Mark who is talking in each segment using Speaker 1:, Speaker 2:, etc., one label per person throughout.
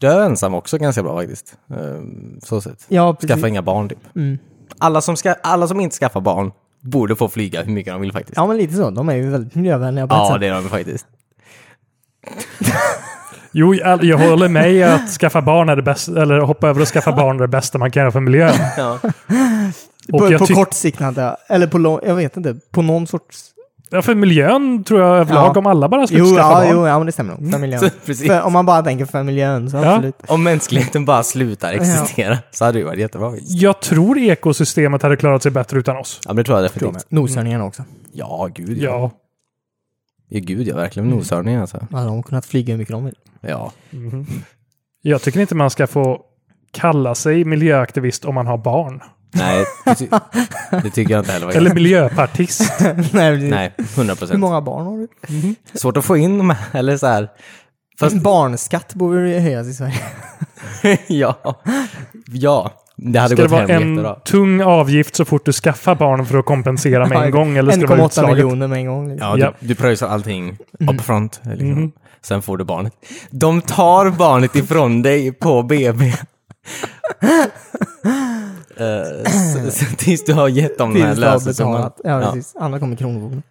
Speaker 1: dö ensam också ganska bra faktiskt. Ehm, Så sett.
Speaker 2: Ja, precis.
Speaker 1: Skaffa inga barn typ. Alla, som ska, alla som inte skaffar barn borde få flyga hur mycket de vill faktiskt.
Speaker 2: Ja, men lite så. De är ju väldigt miljövänliga på ett
Speaker 1: Ja,
Speaker 2: sätt.
Speaker 1: det är de faktiskt.
Speaker 3: Jo, jag jag håller med i att skaffa barn är det bästa, eller hoppa över och skaffa barn är det bästa man kan göra för miljön.
Speaker 1: Ja.
Speaker 3: Och
Speaker 2: på
Speaker 3: jag
Speaker 2: på
Speaker 3: tyck-
Speaker 2: kort sikt, antar jag. Eller på lång... Jag vet inte. På någon sorts...
Speaker 3: Ja, för miljön tror jag överlag
Speaker 2: Ja.
Speaker 3: om alla bara skulle
Speaker 2: Jo,
Speaker 3: skaffa
Speaker 2: ja,
Speaker 3: barn.
Speaker 2: jo, ja, men det stämmer nog. För miljön.
Speaker 1: Precis.
Speaker 2: För, om man bara tänker för miljön, så
Speaker 3: Ja.
Speaker 2: absolut.
Speaker 1: Om mänskligheten bara slutar existera så hade det varit jättebra. faktiskt.
Speaker 3: Jag tror ekosystemet hade klarat sig bättre utan oss.
Speaker 1: Ja, men det tror jag definitivt.
Speaker 2: Noshörningarna också.
Speaker 1: Ja, gud ja.
Speaker 3: Ja.
Speaker 1: ja gud ja, verkligen. Noshörning alltså.
Speaker 2: Hade de kunnat flyga hur mycket de vill?
Speaker 1: Ja.
Speaker 3: Jag tycker inte man ska få kalla sig miljöaktivist om man har barn.
Speaker 1: Nej, det, ty- det tycker jag inte heller. faktiskt.
Speaker 3: Eller miljöpartist.
Speaker 2: Nej, precis.
Speaker 1: Nej, 100
Speaker 2: Hur
Speaker 1: procent.
Speaker 2: många barn har du?
Speaker 1: Svårt att få in de här, eller så här. Fast-
Speaker 2: En barnskatt borde ju höjas i Sverige.
Speaker 1: ja. Ja, det hade
Speaker 3: Ska det
Speaker 1: gått
Speaker 3: vara
Speaker 1: hem
Speaker 3: en
Speaker 1: jättebra.
Speaker 3: tung avgift så fort du skaffar barn för att kompensera med en gång? Eller ska det vara
Speaker 2: 1,8
Speaker 3: utslaget?
Speaker 2: miljoner med en gång. Liksom.
Speaker 1: Ja, du,
Speaker 3: Ja.
Speaker 1: du pröjsar allting
Speaker 2: Mm.
Speaker 1: upfront. Liksom. Sen får du barnet. De tar barnet ifrån dig på BB. Eh, s- s- tills du har gett dem den här
Speaker 2: Tills du har
Speaker 1: lösensumman.
Speaker 2: betalat. Ja, precis. Annars kommer Kronofogden.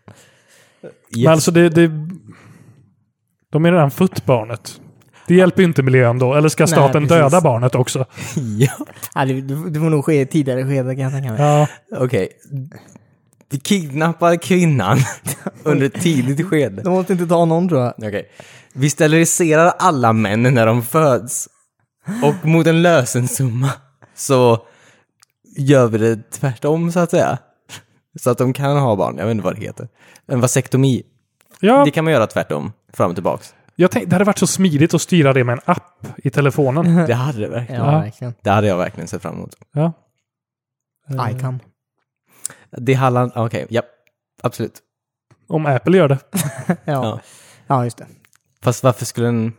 Speaker 3: Men alltså det, det... De är redan fött barnet. Det hjälper ju inte miljön då. Eller ska
Speaker 2: Nej,
Speaker 3: staten
Speaker 2: precis.
Speaker 3: döda barnet också?
Speaker 1: Ja.
Speaker 2: Ja, det, det det får nog ske i ett tidigare skede kan jag tänka mig.
Speaker 3: Ja.
Speaker 1: Okej. Vi kidnappar kvinnan under ett tidigt skede.
Speaker 2: De måste inte ta någon tror jag.
Speaker 1: Okej. Vi steriliserar alla män när de föds. Och mot en lösensumma så gör vi det tvärtom så att säga. Så att de kan ha barn. Jag vet inte vad det heter. En vasektomi.
Speaker 3: ja
Speaker 1: Det kan man göra tvärtom. Fram och tillbaks.
Speaker 3: jag tänkte, det hade varit så smidigt att styra det med en app i telefonen.
Speaker 1: Det hade det verkligen.
Speaker 2: Ja, verkligen.
Speaker 1: Det hade jag verkligen sett fram emot.
Speaker 3: Ja.
Speaker 2: ICAM.
Speaker 1: Det är Halland. ah, Okej, ja. Absolut.
Speaker 3: Om Apple gör det.
Speaker 2: Ja.
Speaker 1: Ja.
Speaker 2: ja, just det.
Speaker 1: Fast varför skulle en...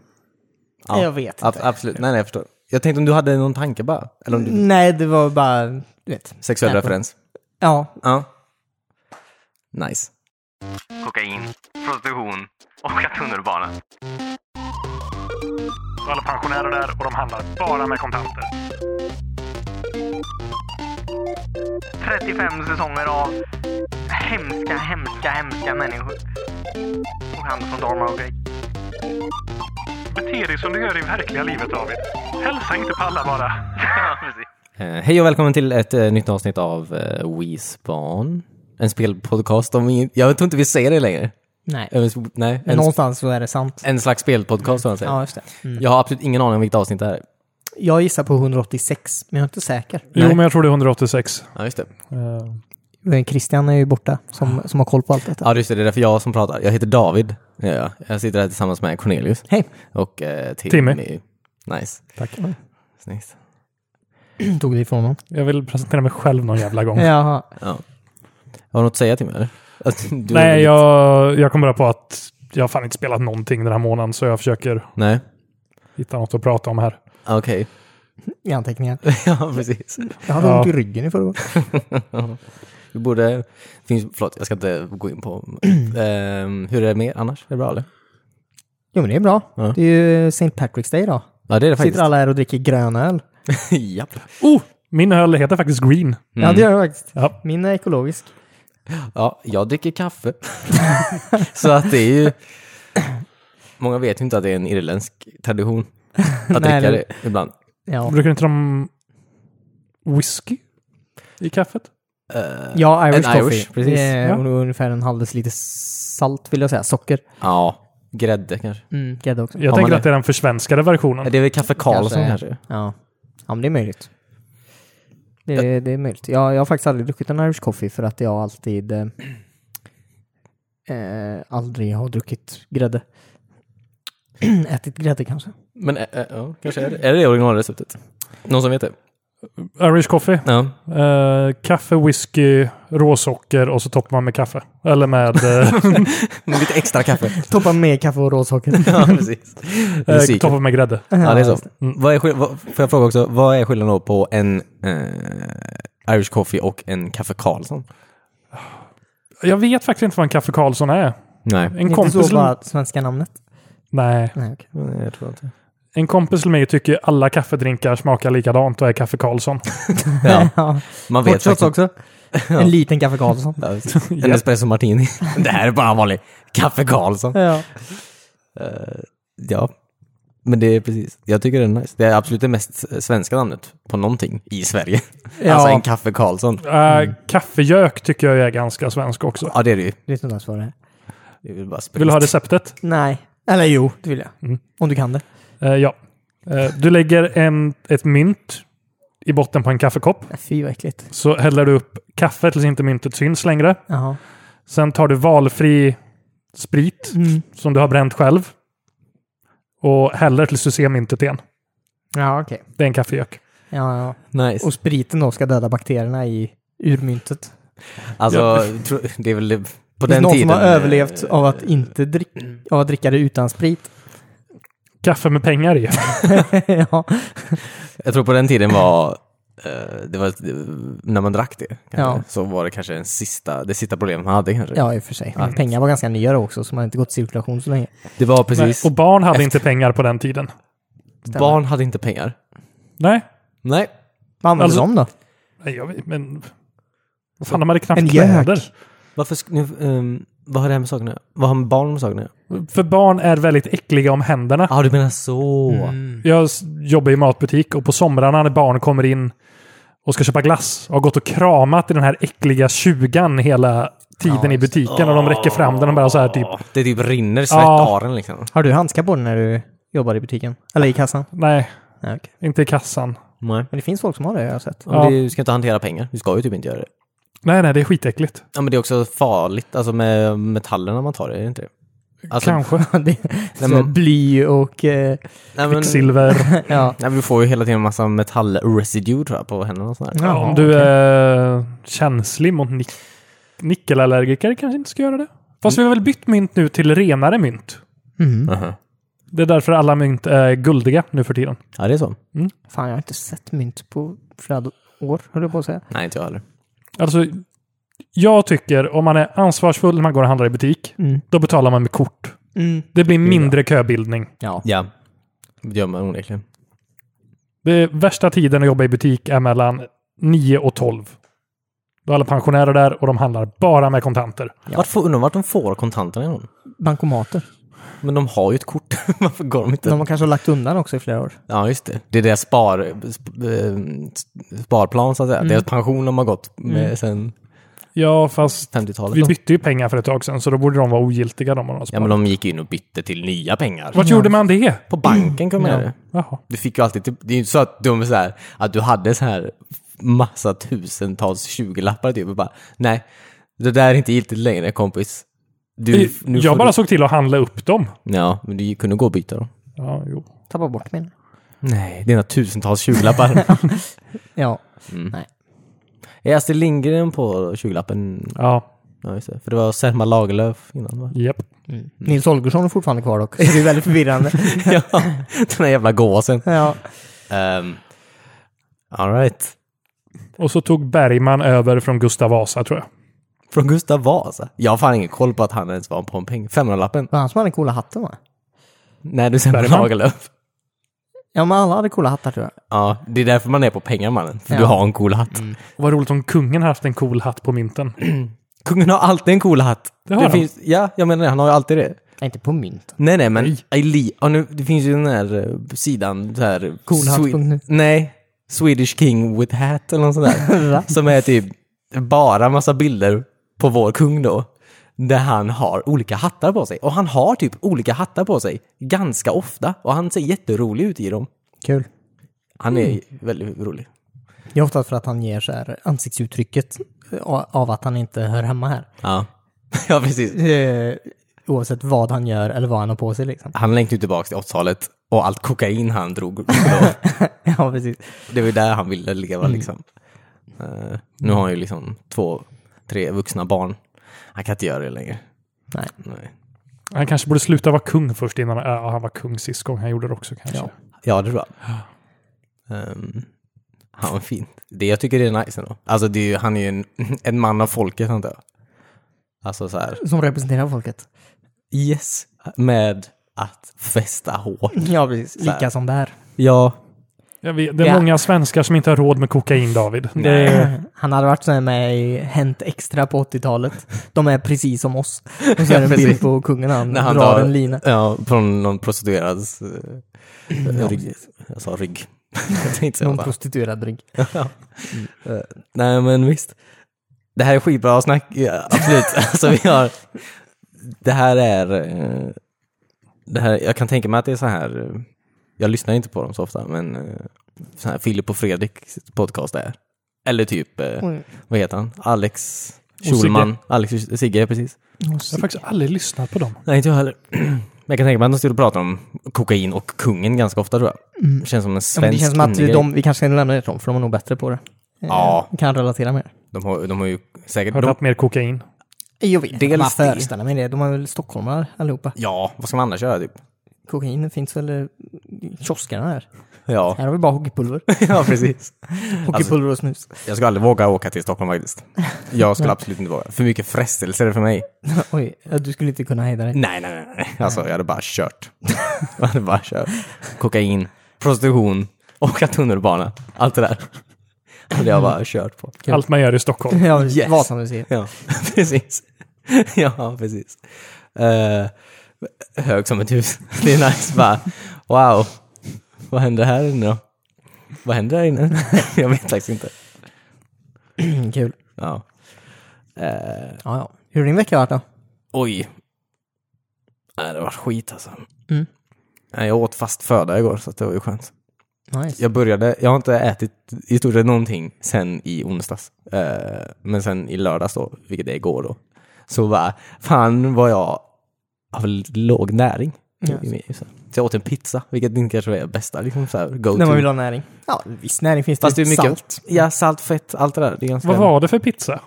Speaker 1: Ja,
Speaker 2: Jag vet
Speaker 1: ab-
Speaker 2: inte.
Speaker 1: Absolut. Nej, nej, jag Mm. förstår. Jag tänkte om du hade någon tanke bara. Eller om du...
Speaker 2: Nej, det var bara, du vet.
Speaker 1: Sexuell
Speaker 2: Apple.
Speaker 1: referens.
Speaker 2: Ja,
Speaker 1: Ja. Nice.
Speaker 4: kokain, prostitution och att tunnelbana.
Speaker 3: Alla pensionärer där och de handlar bara med kontanter.
Speaker 4: 35 säsonger av hemska, hemska, hemska människor. Och han från Dharma och Greg.
Speaker 3: Bete dig som du gör i verkliga livet David. Hälsa inte på alla bara.
Speaker 4: Ja, precis.
Speaker 1: Eh, Hej och välkommen till ett eh, nytt avsnitt av eh, WeSpan. En spelpodcast om inget... Jag tror inte vi säger det längre.
Speaker 2: nej.
Speaker 1: Även sp- Nej,
Speaker 2: Men
Speaker 1: en,
Speaker 2: någonstans så är det sant.
Speaker 1: en slags spelpodcast som man säger.
Speaker 2: Ja, just det. Mm.
Speaker 1: Jag har absolut ingen aning om vilket avsnitt det här är.
Speaker 2: Jag gissar på 186, men jag är inte säker.
Speaker 3: Jo, men jag tror det är 186.
Speaker 1: Ja, just det.
Speaker 3: Eh,
Speaker 2: Men Christian är ju borta, som, som har koll på allt detta.
Speaker 1: Ja, just det. Det är därför jag som pratar. Jag heter David. Ja, ja. Jag sitter här tillsammans med Cornelius
Speaker 2: Hej!
Speaker 1: och eh, Timmy.
Speaker 3: Timmy.
Speaker 1: Nice.
Speaker 3: Tack.
Speaker 1: Snyggt.
Speaker 2: Tog det ifrån honom.
Speaker 3: Jag vill presentera mig själv någon jävla gång.
Speaker 2: Mm. Jaha.
Speaker 1: Ja. Har du något att säga Timmy? Eller? Alltså, du-
Speaker 3: Nej, jag, jag kom bara på att jag har fan inte spelat någonting den här månaden så jag försöker
Speaker 1: Nej,
Speaker 3: hitta något att prata om här.
Speaker 1: okej.
Speaker 2: I anteckningar.
Speaker 1: ja, precis.
Speaker 2: Jag hade
Speaker 3: Ja.
Speaker 2: ont i ryggen i förrgår.
Speaker 1: Vi borde... Finns... Förlåt, jag ska inte gå in på... Ehm, hur är det med er annars? Är det bra eller?
Speaker 2: Jo, men det är bra.
Speaker 1: Ja.
Speaker 2: Det är ju St. Patrick's Day idag.
Speaker 1: Ja, det är det faktiskt.
Speaker 2: Sitter alla här och dricker grön öl.
Speaker 1: Japp.
Speaker 3: Oh! Min öl heter faktiskt Green.
Speaker 1: Mm.
Speaker 2: Ja, det gör jag faktiskt.
Speaker 3: Ja.
Speaker 2: Min är ekologisk.
Speaker 1: Ja, jag dricker kaffe. så att det är ju... Många vet ju inte att det är en irländsk tradition att
Speaker 2: Nej,
Speaker 1: dricka
Speaker 2: det-
Speaker 1: det ibland.
Speaker 2: Ja,
Speaker 3: Brukar inte de whisky i kaffet?
Speaker 1: Eh,
Speaker 2: ja Irish
Speaker 1: en
Speaker 2: coffee.
Speaker 1: Irish, precis.
Speaker 2: Det är
Speaker 3: Ja.
Speaker 2: ungefär en halvdels liter salt, vill jag säga. Socker.
Speaker 1: Ja, grädde kanske.
Speaker 2: Mm, grädde också.
Speaker 3: Jag
Speaker 1: Har
Speaker 3: tänker
Speaker 1: man
Speaker 3: att det är den försvenskade versionen.
Speaker 1: Det är väl kaffe Karlsson kanske?
Speaker 2: Ja. ja, men det är möjligt. Det, det, är möjligt. Jag, jag har faktiskt aldrig druckit en Irish coffee för att jag alltid eh, eh, aldrig har druckit grädde. Ätit grädde kanske.
Speaker 1: Men ä- ä- ja, kanske är det. Är det det originalreceptet? Någon som vet det?
Speaker 3: Irish coffee.
Speaker 1: Ja.
Speaker 3: Eh, kaffe, whisky, råsocker och så toppar man med kaffe. Eller med eh,
Speaker 1: Med lite extra kaffe.
Speaker 2: Toppa med kaffe och råsocker.
Speaker 1: ja, precis.
Speaker 3: eh,
Speaker 1: Musiken.
Speaker 3: toppar med grädde.
Speaker 1: Ja, det är så. Vad är, skill- vad, får jag fråga också, vad är skillnaden då på en eh, Irish coffee och en kaffe Karlsson?
Speaker 3: Jag vet faktiskt inte vad en kaffe Karlsson är.
Speaker 1: Nej,
Speaker 3: En
Speaker 2: Inte
Speaker 3: kompis...
Speaker 2: så bara svenska namnet.
Speaker 3: Nej.
Speaker 2: Nej, okej.
Speaker 1: jag tror inte.
Speaker 3: En kompis till mig tycker alla kaffedrinkar smakar likadant och är kaffe Karlsson.
Speaker 1: Ja,
Speaker 2: Ja.
Speaker 1: man
Speaker 2: Hot
Speaker 1: vet
Speaker 2: shots
Speaker 1: faktiskt.
Speaker 2: också. En liten kaffe Karlsson.
Speaker 1: Ja, visst. En espresso martini. Det här är bara en vanlig kaffe Karlsson.
Speaker 2: Ja.
Speaker 1: Eh, Ja, men det är precis. Jag tycker det är nice. Det är absolut det mest svenska namnet på någonting i Sverige.
Speaker 2: Ja.
Speaker 1: Alltså en kaffe Karlsson.
Speaker 3: Äh, Kaffegök tycker jag är ganska svensk också.
Speaker 1: Ja, det är det ju.
Speaker 2: Vet inte ens vad det är.
Speaker 1: Det är väl bara sprit.
Speaker 3: Vill du ha receptet?
Speaker 2: Nej. Eller jo, det vill jag.
Speaker 3: Mm.
Speaker 2: Om du kan det.
Speaker 3: Eh, ja. Eh, du lägger en, ett mynt i botten på en kaffekopp.
Speaker 2: Nej, Fy vad äckligt.
Speaker 3: Så häller du upp kaffe tills inte myntet syns längre.
Speaker 2: Jaha.
Speaker 3: Sen tar du valfri sprit
Speaker 2: Mm.
Speaker 3: som du har bränt själv och häller tills du ser myntet igen.
Speaker 2: Ja, okej.
Speaker 3: Det är en kaffegök.
Speaker 2: Ja, ja.
Speaker 1: Nice.
Speaker 2: Och spriten då ska döda bakterierna i urmyntet.
Speaker 1: Alltså,
Speaker 3: Ja.
Speaker 1: tro- det är väl det- på
Speaker 2: Det finns
Speaker 1: den
Speaker 2: någon
Speaker 1: tiden.
Speaker 2: som har
Speaker 1: eh, mm.
Speaker 2: överlevt av att inte drick, av att dricka det utan sprit.
Speaker 3: Kaffe med pengar i.
Speaker 2: ja.
Speaker 1: Jag tror på den tiden var, eh, det var när man drack det, kanske,
Speaker 2: Ja.
Speaker 1: så var det kanske den sista, det sista problemet man hade kanske.
Speaker 2: ja, i och för sig.
Speaker 1: Mm.
Speaker 2: Men pengar var ganska nya då också, så man har inte gått cirkulation så länge.
Speaker 1: Det var precis,
Speaker 3: Och barn hade inte pengar på den tiden.
Speaker 1: barn hade inte pengar.
Speaker 3: Nej,
Speaker 1: Nej,
Speaker 2: Vad använder
Speaker 3: Alltså-
Speaker 2: de då?
Speaker 3: Nej, jag vet, men... Vad fan, de hade knappt
Speaker 2: En gök.
Speaker 3: kläder.
Speaker 1: varför, sk- nu, ehm, vad har det här med sakerna Vad har med barn med sakerna
Speaker 3: För barn är väldigt äckliga om händerna.
Speaker 1: Ja, ah, du menar så.
Speaker 3: Jag s- jobbar i matbutik och på somrarna när barn kommer in och ska köpa glass har gått och kramat i den här äckliga tjugan hela tiden i butiken och de räcker fram den och bara så här typ
Speaker 1: Det typ rinner svett
Speaker 3: Ja.
Speaker 1: av den liksom.
Speaker 2: Har du handskar på dig när du jobbar i butiken? Eller i kassan?
Speaker 3: nej,
Speaker 2: Nej, okej.
Speaker 3: inte i kassan.
Speaker 1: Nej.
Speaker 2: Men det finns folk som har det, jag har sett.
Speaker 1: Ja.
Speaker 3: Ja.
Speaker 1: men det- Du ska inte hantera pengar, du ska ju typ inte göra det.
Speaker 3: Nej, nej, det är skitäckligt.
Speaker 1: Ja, men det är också farligt, alltså med metallerna man tar, är det inte det? Alltså,
Speaker 3: Kanske.
Speaker 1: Nej,
Speaker 2: det så
Speaker 1: men-
Speaker 2: Bly och... Eh,
Speaker 1: nej, men, nej,
Speaker 3: Silver.
Speaker 2: ja.
Speaker 1: men du får ju hela tiden en massa metallresidue tror jag på händerna och sådär.
Speaker 3: Ja, om du är känslig mot nick nickelallergiker kanske inte ska göra det. Fast vi har väl bytt mynt nu till renare mynt.
Speaker 1: eh,
Speaker 2: Mm.
Speaker 1: Aha.
Speaker 3: Det är därför alla mynt är guldiga nu för tiden.
Speaker 1: Ja, det är så.
Speaker 2: Fan, jag har inte sett mynt på flera år, höll jag på att säga.
Speaker 1: Nej, inte jag heller.
Speaker 3: Alltså, jag tycker om man är ansvarsfull när man går och handlar i butik,
Speaker 2: Mm.
Speaker 3: då betalar man med kort.
Speaker 2: Mm.
Speaker 3: Det blir mindre köbildning.
Speaker 2: Ja.
Speaker 1: Ja. Det gör man onekligen.
Speaker 3: Det värsta tiden att jobba i butik är mellan 9 och 12. Då är alla pensionärer där och de handlar bara med kontanter.
Speaker 1: Ja. Vart får, undrar vart de får kontanterna ifrån?
Speaker 2: Bankomater.
Speaker 1: Men de har ju ett kort. Varför går de inte?
Speaker 2: De har kanske lagt undan också i flera år.
Speaker 1: Ja, just det. Det är deras spar, sp- eh, s- sparplan, så att
Speaker 3: Mm.
Speaker 1: säga. Deras pension de har gått med sen
Speaker 3: Ja, fast
Speaker 1: 50-talet.
Speaker 3: Mm. vi bytte ju pengar för ett tag sedan, så då borde de vara ogiltiga. De har
Speaker 1: Ja, men de gick in och bytte till nya pengar.
Speaker 3: Vart gjorde man det?
Speaker 1: På banken kunde man göra det.
Speaker 3: Jaha.
Speaker 1: Du fick ju alltid, typ, det är ju inte så att de är så här, att du hade så här massa tusentals 20-lappar typ och bara, nej, det där är inte giltigt längre kompis. Du, nu
Speaker 3: Eh, jag
Speaker 1: får
Speaker 3: bara
Speaker 1: du...
Speaker 3: såg till att handla upp dem.
Speaker 1: Ja, men du kunde gå och byta dem.
Speaker 3: Ja, jo.
Speaker 2: Tappar bort min.
Speaker 1: Nej, dina tusentals 20-lappar.
Speaker 2: Ja.
Speaker 1: Är Astrid Lindgren på 20-lappen?
Speaker 3: Ja,
Speaker 1: Ja, just det. För det var Selma Lagerlöf innan va?
Speaker 3: japp.
Speaker 2: Nils Holgersson är fortfarande kvar dock, så Mm. det är väldigt förvirrande.
Speaker 1: ja, den här jävla gåsen.
Speaker 2: ja.
Speaker 3: Ehm,
Speaker 1: Um, Alright.
Speaker 3: Och så tog Bergman över från Gustav Vasa, tror jag.
Speaker 1: Från Gustav Vasa. Jag har fan ingen koll på att han ens var på en peng. 500-lappen?
Speaker 2: Det var han som hade den coola hatten va?
Speaker 1: Nej, du Selma
Speaker 3: Bergman.
Speaker 1: Lagerlöf.
Speaker 2: Ja, men alla hade coola hattar tror jag.
Speaker 1: Ja, det är därför man är på pengar mannen. För du
Speaker 2: Ja.
Speaker 1: har en cool hatt.
Speaker 3: Vad roligt om kungen haft en cool hatt på mynten.
Speaker 1: Kungen har alltid en cool hatt.
Speaker 3: Det har han.
Speaker 1: finns, Ja, jag menar det. Han har ju alltid det.
Speaker 2: Nej, inte på mynt.
Speaker 1: Nej, nej, men Eli, och nu, det finns ju den här eh, sidan, så här...
Speaker 2: Coolhatt.nu.
Speaker 1: Swe- Nej. Swedish King with hat eller något sånt där. som är typ bara massa bilder på vår kung då. Där han har olika hattar på sig. Och han har typ olika hattar på sig ganska ofta. Och han ser jätterolig ut i dem.
Speaker 2: Kul.
Speaker 1: Han är väldigt rolig.
Speaker 2: Det är ofta för att han ger så här ansiktsuttrycket eh, av att han inte hör hemma här.
Speaker 1: Ja. ja, precis.
Speaker 2: Eh, oavsett vad han gör eller vad han har på sig liksom.
Speaker 1: han längtade ju tillbaka till 80-talet och allt kokain han drog. då.
Speaker 2: ja, precis.
Speaker 1: Det var ju där han ville leva
Speaker 2: Mm.
Speaker 1: liksom. Eh, nu har han ju liksom två, tre vuxna barn. Han kan inte göra det längre.
Speaker 2: Nej.
Speaker 1: Nej.
Speaker 3: Han kanske borde sluta vara kung först innan ja, han var kung sist gång. Han gjorde det också kanske.
Speaker 2: Ja.
Speaker 1: Ja, det tror jag. Um, han var fint. Det jag tycker det är nice ändå. Alltså det är ju, han är ju en, en man av folket antar jag. Alltså så här,
Speaker 2: Som representerar folket.
Speaker 1: yes, med att festa hårt.
Speaker 2: Ja, precis.
Speaker 1: Så här.
Speaker 2: Lika som bär.
Speaker 1: Ja,
Speaker 3: Jag vet, det är
Speaker 2: Ja.
Speaker 3: många svenskar som inte har råd med kokain, David. Det är,
Speaker 2: Han hade varit så här med i Hänt Extra på 80-talet. De är precis som oss. Och så är det en bild
Speaker 1: precis.
Speaker 2: på kungen han,
Speaker 1: när han
Speaker 2: drar
Speaker 1: tar,
Speaker 2: en lina.
Speaker 1: Ja, från någon prostituerads eh, rygg. Jag sa rygg. jag tänkte säga
Speaker 2: Någon
Speaker 1: bara.
Speaker 2: prostituerad rygg.
Speaker 1: Nej men visst. Det här är skitbra snack, ja, absolut. alltså vi har... Det här är... eh, Det här, jag kan tänka mig att det är så här... eh, Jag lyssnar inte på dem så ofta, men eh, så här Filip och Fredriks podcast är. Eller typ, eh,
Speaker 2: Oj.
Speaker 1: vad heter han? Alex
Speaker 3: Sigge.
Speaker 1: Schulman. Alex och Sigge, precis.
Speaker 3: jag har faktiskt aldrig lyssnat på dem.
Speaker 1: Nej, inte jag heller. Men jag kan tänka mig att de står och pratar om kokain och kungen ganska ofta tror jag. Det känns som en
Speaker 2: Ja, men
Speaker 1: svensk
Speaker 2: det känns som att
Speaker 1: innegrej.
Speaker 2: de, vi kanske ska lämna det till dem, för de är nog bättre på det. Eh,
Speaker 1: Ja.
Speaker 2: Kan relatera mer.
Speaker 1: De har, de har ju säkert...
Speaker 3: Har du
Speaker 1: De,
Speaker 3: haft mer kokain?
Speaker 2: Jag vet inte,
Speaker 1: Dels
Speaker 2: man
Speaker 1: det.
Speaker 2: föreställer mig det. De är väl stockholmare allihopa.
Speaker 1: ja, vad ska man annars göra typ?
Speaker 2: Kokain finns väl i kioskerna här.
Speaker 1: Ja,
Speaker 2: Här har vi bara hockeypulver.
Speaker 1: ja precis.
Speaker 2: Hockeypulver och snus.
Speaker 1: Jag skulle aldrig våga åka till Stockholm faktiskt. Jag skulle absolut inte våga. För mycket frestelser är det för mig.
Speaker 2: Oj, ja, du skulle inte kunna hejda dig.
Speaker 1: Nej, nej, nej, nej. Alltså, jag hade bara kört. Jag hade bara kört. Kokain, prostitution, åka tunnelbana. Allt det där. Hade jag bara kört på.
Speaker 3: Allt man gör i Stockholm.
Speaker 2: Ja,
Speaker 1: Yes.
Speaker 2: Vasamuseet.
Speaker 1: Ja, precis. Ja, precis. Eh, hög som ett hus. Det är nice bara. Wow. Vad händer här inne då? Vad händer här inne? jag vet faktiskt inte.
Speaker 2: Mm, kul.
Speaker 1: Ja. Eh,
Speaker 2: Ja, ja. Hur har din vecka varit då?
Speaker 1: Oj. Nej, det var skit alltså.
Speaker 2: Mm.
Speaker 1: Nej, jag åt fast föda igår, så att det var ju skönt.
Speaker 2: Nice.
Speaker 1: Jag började, jag har inte ätit i stort sett någonting sen i onsdags. Eh, men sen i lördags då, vilket är igår då, så bara, fan vad jag har låg näring.
Speaker 2: Ja.
Speaker 1: I- i- Så jag åt en pizza, vilket inte kanske är det bästa liksom så här, go to.
Speaker 2: När man vill ha näring? Ja, viss näring finns
Speaker 1: Fast det är mycket
Speaker 2: Salt.
Speaker 1: Ja, salt, fett, allt det där. Det är ganska...
Speaker 3: Vad var det för pizza?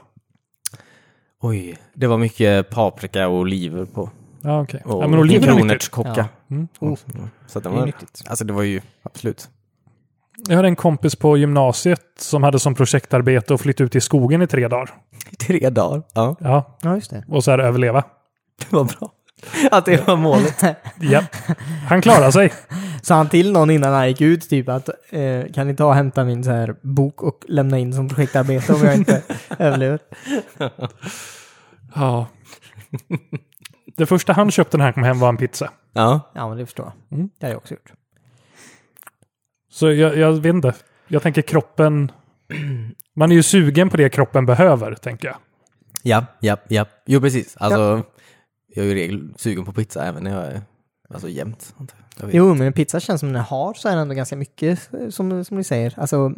Speaker 1: Oj, det var mycket paprika och oliver på.
Speaker 3: Ja, okej.
Speaker 1: Och
Speaker 3: Ja, men oliver är nyttigt.
Speaker 1: kronärtskocka.
Speaker 3: Ja. Mm.
Speaker 1: Mm. Så att den
Speaker 2: Det är
Speaker 1: var,
Speaker 2: nyttigt.
Speaker 1: alltså det var ju, absolut.
Speaker 3: Jag hade en kompis på gymnasiet som hade som projektarbete att flytta ut i skogen i tre dagar.
Speaker 1: Tre dagar. Ja,
Speaker 3: Ja,
Speaker 2: Ja, just det.
Speaker 3: och så här överleva.
Speaker 1: det var bra. Att det var målet.
Speaker 3: Ja. Han klarade sig.
Speaker 2: Sa han till någon innan han gick ut typ att eh, kan ni ta och hämta min så här bok och lämna in som projektarbete om jag inte överlever?
Speaker 3: Ja. Det första han köpte när han kom hem var en pizza.
Speaker 1: Ja.
Speaker 2: Ja, men det förstår jag.
Speaker 3: Mm.
Speaker 2: Det har jag också gjort.
Speaker 3: Så jag, jag vet inte. Jag tänker kroppen... Man är ju sugen på det kroppen behöver, tänker jag.
Speaker 1: Ja, ja, ja. Jo, precis. Alltså, jag är ju i regel sugen på pizza även när jag är, alltså jämt. antar jag. Jag vet.
Speaker 2: Jo, men en pizza känns som den har så är det ändå ganska mycket eh, som, som ni säger. Alltså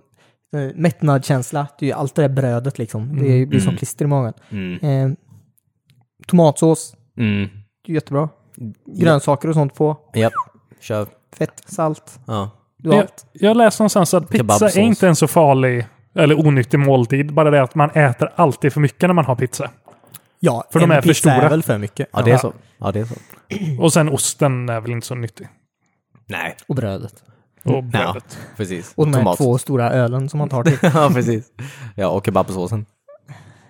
Speaker 2: eh, mättnadskänsla, det är ju allt det där brödet liksom. Det blir som klister i magen.
Speaker 1: Mm.
Speaker 2: Eh, tomatsås,
Speaker 1: Mm.
Speaker 2: det är jättebra. Grönsaker och sånt på.
Speaker 1: Ja, kör.
Speaker 2: Fett, salt,
Speaker 1: Ja.
Speaker 2: du har
Speaker 3: Jag,
Speaker 2: allt.
Speaker 3: jag läste någonstans att pizza
Speaker 1: Kebabsås.
Speaker 3: är inte en så farlig eller onyttig måltid. Bara det att man äter alltid för mycket när man har pizza.
Speaker 2: Ja,
Speaker 3: För de
Speaker 2: en
Speaker 3: är för
Speaker 2: pizza
Speaker 3: stora.
Speaker 2: är väl för mycket.
Speaker 1: Ja, det är så. Ja, det är så.
Speaker 3: Och sen osten är väl inte så nyttig.
Speaker 1: Nej.
Speaker 2: Och brödet.
Speaker 3: Och
Speaker 1: Ja,
Speaker 3: brödet.
Speaker 1: precis.
Speaker 2: Och de här två stora ölen som man tar till.
Speaker 1: ja, precis. Ja, och kebabsåsen.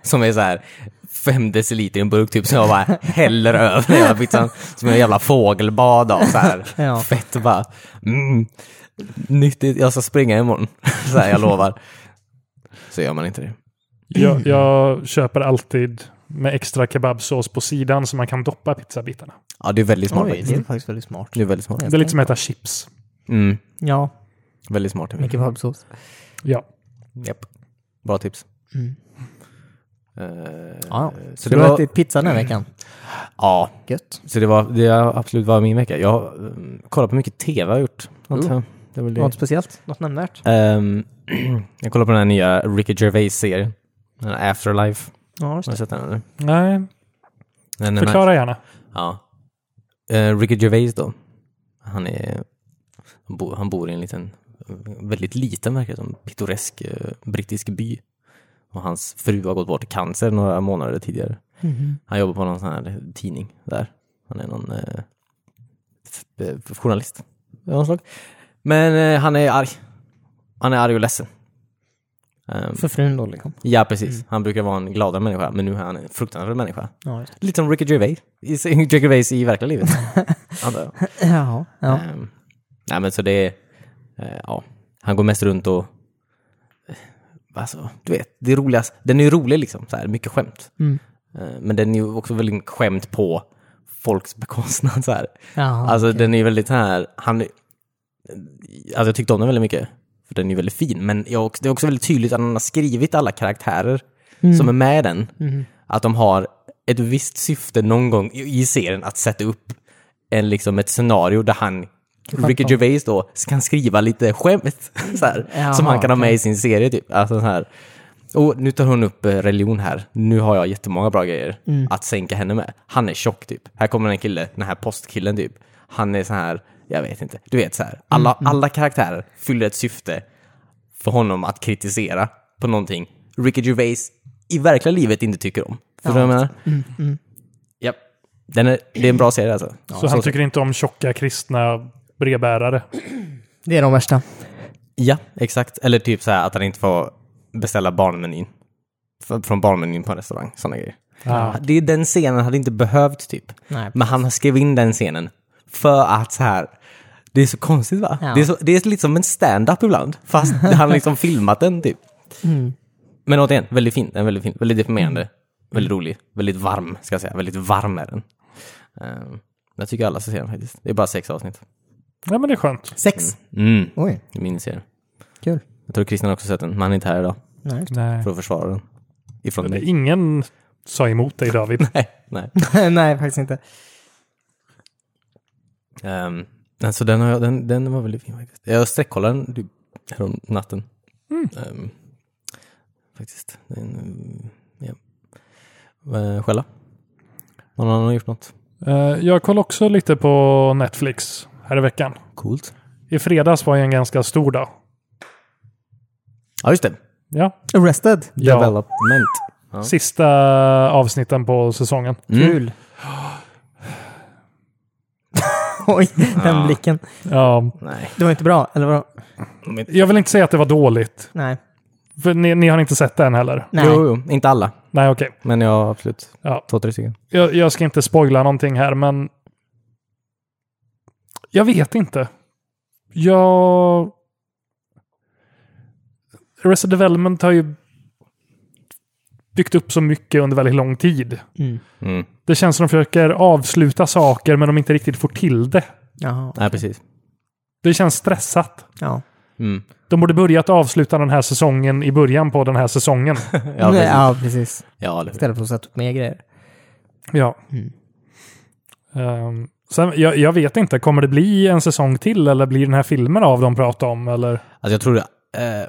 Speaker 1: Som är så här fem deciliter i en burk typ, som jag bara häller över den jävla pizzan. Som en jävla fågelbad av så här.
Speaker 2: Ja.
Speaker 1: Fett och bara. Mm, nyttigt, jag ska springa imorgon. så här, jag lovar. Så gör man inte det.
Speaker 3: Jag, jag köper alltid med extra kebabsås på sidan så man kan doppa pizzabitarna.
Speaker 1: Ja, det är väldigt smart
Speaker 2: Oj, det
Speaker 1: faktiskt.
Speaker 2: är faktiskt väldigt smart.
Speaker 1: Det är väldigt smart.
Speaker 3: Det är lite som att äta chips.
Speaker 1: Mm,
Speaker 2: Ja,
Speaker 1: väldigt smart.
Speaker 2: med kebabsås.
Speaker 3: Ja.
Speaker 1: Japp. Bra tips.
Speaker 2: Mm.
Speaker 1: Eh,
Speaker 2: Ja,
Speaker 1: så
Speaker 2: du
Speaker 1: det
Speaker 2: har
Speaker 1: var,
Speaker 2: ätit pizza den här veckan.
Speaker 1: ja,
Speaker 2: Gött.
Speaker 1: så det var det har absolut var min vecka. Jag har mm, kollat på mycket tv jag har gjort.
Speaker 2: Oh.
Speaker 1: antar jag. Det är väl det.
Speaker 2: Något speciellt? Något nämnvärt?
Speaker 1: Ehm, jag kollar på den här nya Ricky Gervais-serien. Den här Afterlife.
Speaker 2: Ja, just
Speaker 1: Har du
Speaker 2: det.
Speaker 1: sett den eller?
Speaker 3: Nej,
Speaker 1: Den är
Speaker 3: förklara gärna.
Speaker 1: nice. Ja. Eh, Ricky Gervais då. Han, är, han, bo, han bor i en liten, väldigt liten verkar det som, pittoresk eh, brittisk by. Och hans fru har gått bort i cancer några månader tidigare.
Speaker 2: Mm-hmm.
Speaker 1: Han jobbar på någon sån här tidning där. Han är någon eh, f- eh, journalist. av något slag. Men eh, han är arg. Han är arg och ledsen. Ehm,
Speaker 2: För frun då liksom.
Speaker 1: ja, precis. Han brukar vara en gladare människa, men nu är han en fruktansvärd människa.
Speaker 2: Ja, just det.
Speaker 1: Lite som Ricky Gervais. I- Ricky Gervais i verkliga livet. antar jag.
Speaker 2: Jaha, ja.
Speaker 1: Ehm, nej, men så det är... eh, ja, han går mest runt och... eh, Alltså, du vet, det är roligast. Den är ju rolig liksom, så här, mycket skämt. Eh, men den är ju också väldigt skämt på folks bekostnad. Så här.
Speaker 2: Jaha,
Speaker 1: Alltså den är ju väldigt här, han... Alltså jag tyckte om den väldigt mycket. För den är ju väldigt fin. Men jag, det är också väldigt tydligt att han har skrivit alla karaktärer som är med i den. Att de har ett visst syfte någon gång i i serien att sätta upp en, liksom, ett scenario där han Ricky Gervais då kan skriva lite skämt så här,
Speaker 2: Jaha,
Speaker 1: som han kan ha med
Speaker 2: okej.
Speaker 1: i sin serie. Typ. Alltså, så här. Och nu tar hon upp eh, religion här. Nu har jag jättemånga bra grejer
Speaker 2: Mm.
Speaker 1: att sänka henne med. Han är tjock typ. Här kommer en kille, den här postkillen typ. Han är så här, jag vet inte. Du vet så här, alla,
Speaker 2: Mm,
Speaker 1: alla karaktärer fyller ett syfte för honom att kritisera på någonting Ricky Gervais i verkliga livet inte tycker om. Förstår du vad jag menar?
Speaker 2: Mm,
Speaker 1: Japp. Den är, det är en bra serie alltså.
Speaker 3: Så han tycker inte om tjocka kristna brevbärare.
Speaker 2: Det är de värsta.
Speaker 1: Ja, exakt. Eller typ så här att han inte får beställa barnmenyn. F- Från barnmenyn på en restaurang. Sådana grejer.
Speaker 3: Ja.
Speaker 1: Det är den scenen hade inte behövt typ.
Speaker 2: Nej,
Speaker 1: Men han har skrivit in den scenen för att så här. Det är så konstigt va?
Speaker 2: Ja.
Speaker 1: Det, är så, det är lite som en stand-up ibland. Fast han har liksom filmat den typ.
Speaker 2: Mm.
Speaker 1: Men återigen, väldigt fin. Den är väldigt fin. Väldigt deprimerande. Väldigt rolig. Väldigt varm, ska jag säga. Väldigt varm är den. Ehm, jag tycker alla ska se den faktiskt. Det är bara sex avsnitt.
Speaker 3: Ja, men det är skönt.
Speaker 2: Sex.
Speaker 1: Mm,
Speaker 2: Oj,
Speaker 1: min serie.
Speaker 2: kul.
Speaker 1: Jag tror Christian har också sett den, men han är inte här idag
Speaker 2: Nej.
Speaker 3: Nej.
Speaker 1: för att försvara den. Ifrån
Speaker 3: Det är
Speaker 1: mig.
Speaker 3: Ingen sa emot dig David.
Speaker 1: Nej, nej.
Speaker 2: Nej, faktiskt inte.
Speaker 1: Ehm, alltså den, har jag, den, den var väldigt fin faktiskt. Jag sträckkollade den typ härom natten. Ehm, faktiskt. Den, mm, ja. Eh, Själva? Någon annan har gjort något?
Speaker 3: Eh, Jag kollade också lite på Netflix här i veckan.
Speaker 1: Coolt.
Speaker 3: I fredags var ju en ganska stor dag.
Speaker 1: Ja, just det.
Speaker 3: Ja,
Speaker 2: Arrested.
Speaker 3: Ja.
Speaker 1: Development. Ja. Mm.
Speaker 3: sista avsnitten på säsongen.
Speaker 2: Kul. Oj, den blicken.
Speaker 3: Ja,
Speaker 1: Nej,
Speaker 2: Det var inte bra, eller vadå?
Speaker 3: jag vill inte säga att det var dåligt.
Speaker 2: Nej.
Speaker 3: För ni, ni har inte sett den heller?
Speaker 2: Nej.
Speaker 1: Jo, jo, inte alla.
Speaker 3: Nej, okej.
Speaker 1: Men jag har absolut
Speaker 3: Ja.
Speaker 1: två, tre stycken.
Speaker 3: Jag, jag ska inte spoila någonting här, men... Jag vet inte. Jag... Arrested Development har ju byggt upp så mycket under väldigt lång tid.
Speaker 2: Mm.
Speaker 1: Mm.
Speaker 3: Det känns som de försöker avsluta saker, men de inte riktigt får till det.
Speaker 2: Jaha.
Speaker 1: Nej, precis.
Speaker 3: Det känns stressat.
Speaker 2: Ja.
Speaker 1: Mm.
Speaker 3: De borde börjat avsluta den här säsongen i början på den här säsongen.
Speaker 1: Ja,
Speaker 2: Nej,
Speaker 1: precis. Ja.
Speaker 2: ja, precis.
Speaker 1: eller hur?
Speaker 2: Istället för att sätta upp mer grejer.
Speaker 3: Ja.
Speaker 2: Mm.
Speaker 3: Ehm, sen, jag, jag vet inte, kommer det bli en säsong till eller blir den här filmen av de pratar om? Eller?
Speaker 1: Alltså jag tror det. Eh,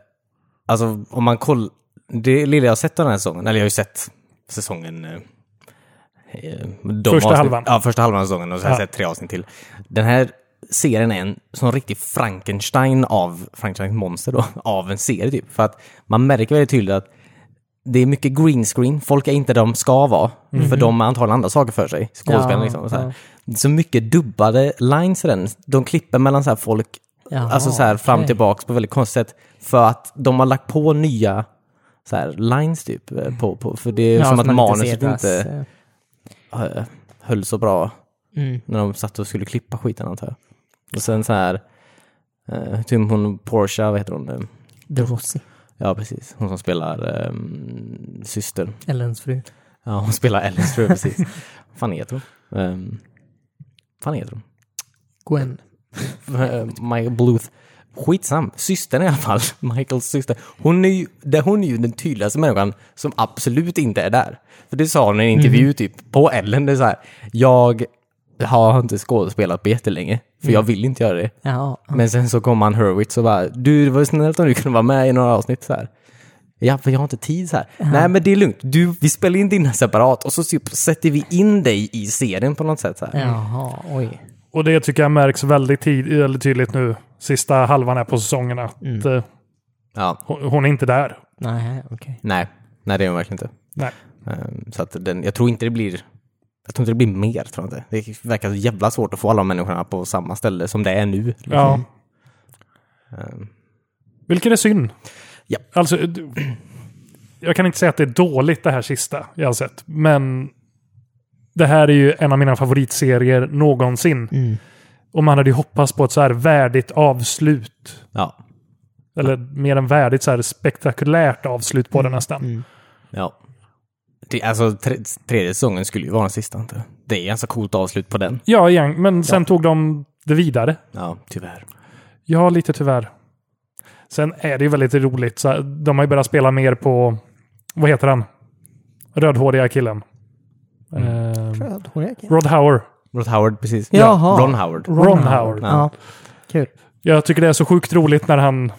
Speaker 1: alltså om man kollar. Det lilla jag har sett av den här säsongen, eller jag har ju sett säsongen... Eh, eh, de
Speaker 3: Första halvan.
Speaker 1: Ja, första halvan av säsongen och så har jag
Speaker 3: Ja.
Speaker 1: sett tre avsnitt till. Den här serien är en sån riktig Frankenstein av, Frankensteins monster då, av en serie typ. För att man märker väldigt tydligt att det är mycket green screen, folk är inte där de ska vara,
Speaker 3: Mhm.
Speaker 1: för de har antagligen andra saker för sig. Skådespelare
Speaker 2: Ja,
Speaker 1: liksom. Och så, här. Det är så mycket dubbade lines i den. De klipper mellan så här folk
Speaker 2: Jaha,
Speaker 1: alltså så här fram och
Speaker 2: okej.
Speaker 1: tillbaks på väldigt konstigt sätt. För att de har lagt på nya så här, lines typ. eh, På, på, för det är som att
Speaker 2: man inte
Speaker 1: manuset
Speaker 2: ser
Speaker 1: inte,
Speaker 2: deras, eh,
Speaker 1: eh, höll så bra
Speaker 2: Mm.
Speaker 1: när de satt och skulle klippa skiten antar jag. Och sen så här, eh, typ hon Portia, vad heter hon? Eh,
Speaker 2: The Rossi.
Speaker 1: Ja precis, hon som spelar eh, systern.
Speaker 2: Eller ens fru.
Speaker 1: Ja, hon spelar Alice tror jag precis. Vad fan heter hon? Um, fan heter hon?
Speaker 2: Gwen.
Speaker 1: Eh, Michael Bluth. Skitsam. Systern i alla fall. Michaels syster. Hon är, ju, det- hon är ju den tydligaste människan som absolut inte är där. För det sa hon i en intervju typ på Ellen. Det är så här, jag har inte skådespelat på jättelänge. För jag vill inte göra det.
Speaker 2: Jaha.
Speaker 1: Men sen så kom han Hurwitz och bara, du det var ju snällt om du kunde vara med i några avsnitt så här. Ja, för jag har inte tid så här. Nej, men det är lugnt. Du, vi spelar in dina separat och så typ sätter vi in dig i serien på något sätt. Så här.
Speaker 2: Jaha, oj.
Speaker 3: Och det tycker jag märks väldigt tid, eller tydligt nu, sista halvan här på säsongen, att eh,
Speaker 1: Ja.
Speaker 3: hon, hon är inte där.
Speaker 2: Nej, okej.
Speaker 1: Nej, nej det är hon verkligen inte.
Speaker 3: Nej.
Speaker 1: Ehm, Så att den, jag tror inte det blir jag tror inte det blir mer, tror jag inte. Det verkar så jävla svårt att få alla de människorna på samma ställe som det är nu.
Speaker 3: Ja.
Speaker 1: Ehm,
Speaker 3: Vilket är synd.
Speaker 1: Ja.
Speaker 3: Alltså, du- jag kan inte säga att det är dåligt det här sista jag har sett, men det här är ju en av mina favoritserier någonsin. Och man hade ju hoppats på ett så här värdigt avslut.
Speaker 1: Ja.
Speaker 3: Eller mer än värdigt, så här spektakulärt avslut på det nästan.
Speaker 1: ja. Tre- Alltså, tre, tredje säsongen skulle ju vara den sista, inte? Det är ganska coolt avslut på den.
Speaker 3: Ja, igen, men sen tog de det vidare.
Speaker 1: Ja, tyvärr.
Speaker 3: Ja, lite tyvärr. Sen är det ju väldigt roligt. Så här, de har ju börjat spela mer på, vad heter han? Rödhåriga killen.
Speaker 2: Mm.
Speaker 3: Eh,
Speaker 2: Röd hårig.
Speaker 3: Rod Howard.
Speaker 1: Rod Howard, precis.
Speaker 2: Jaha.
Speaker 1: Ja, Ron Howard.
Speaker 3: Ron Howard.
Speaker 2: Ja. Kul.
Speaker 3: Jag tycker det är så sjukt roligt när han...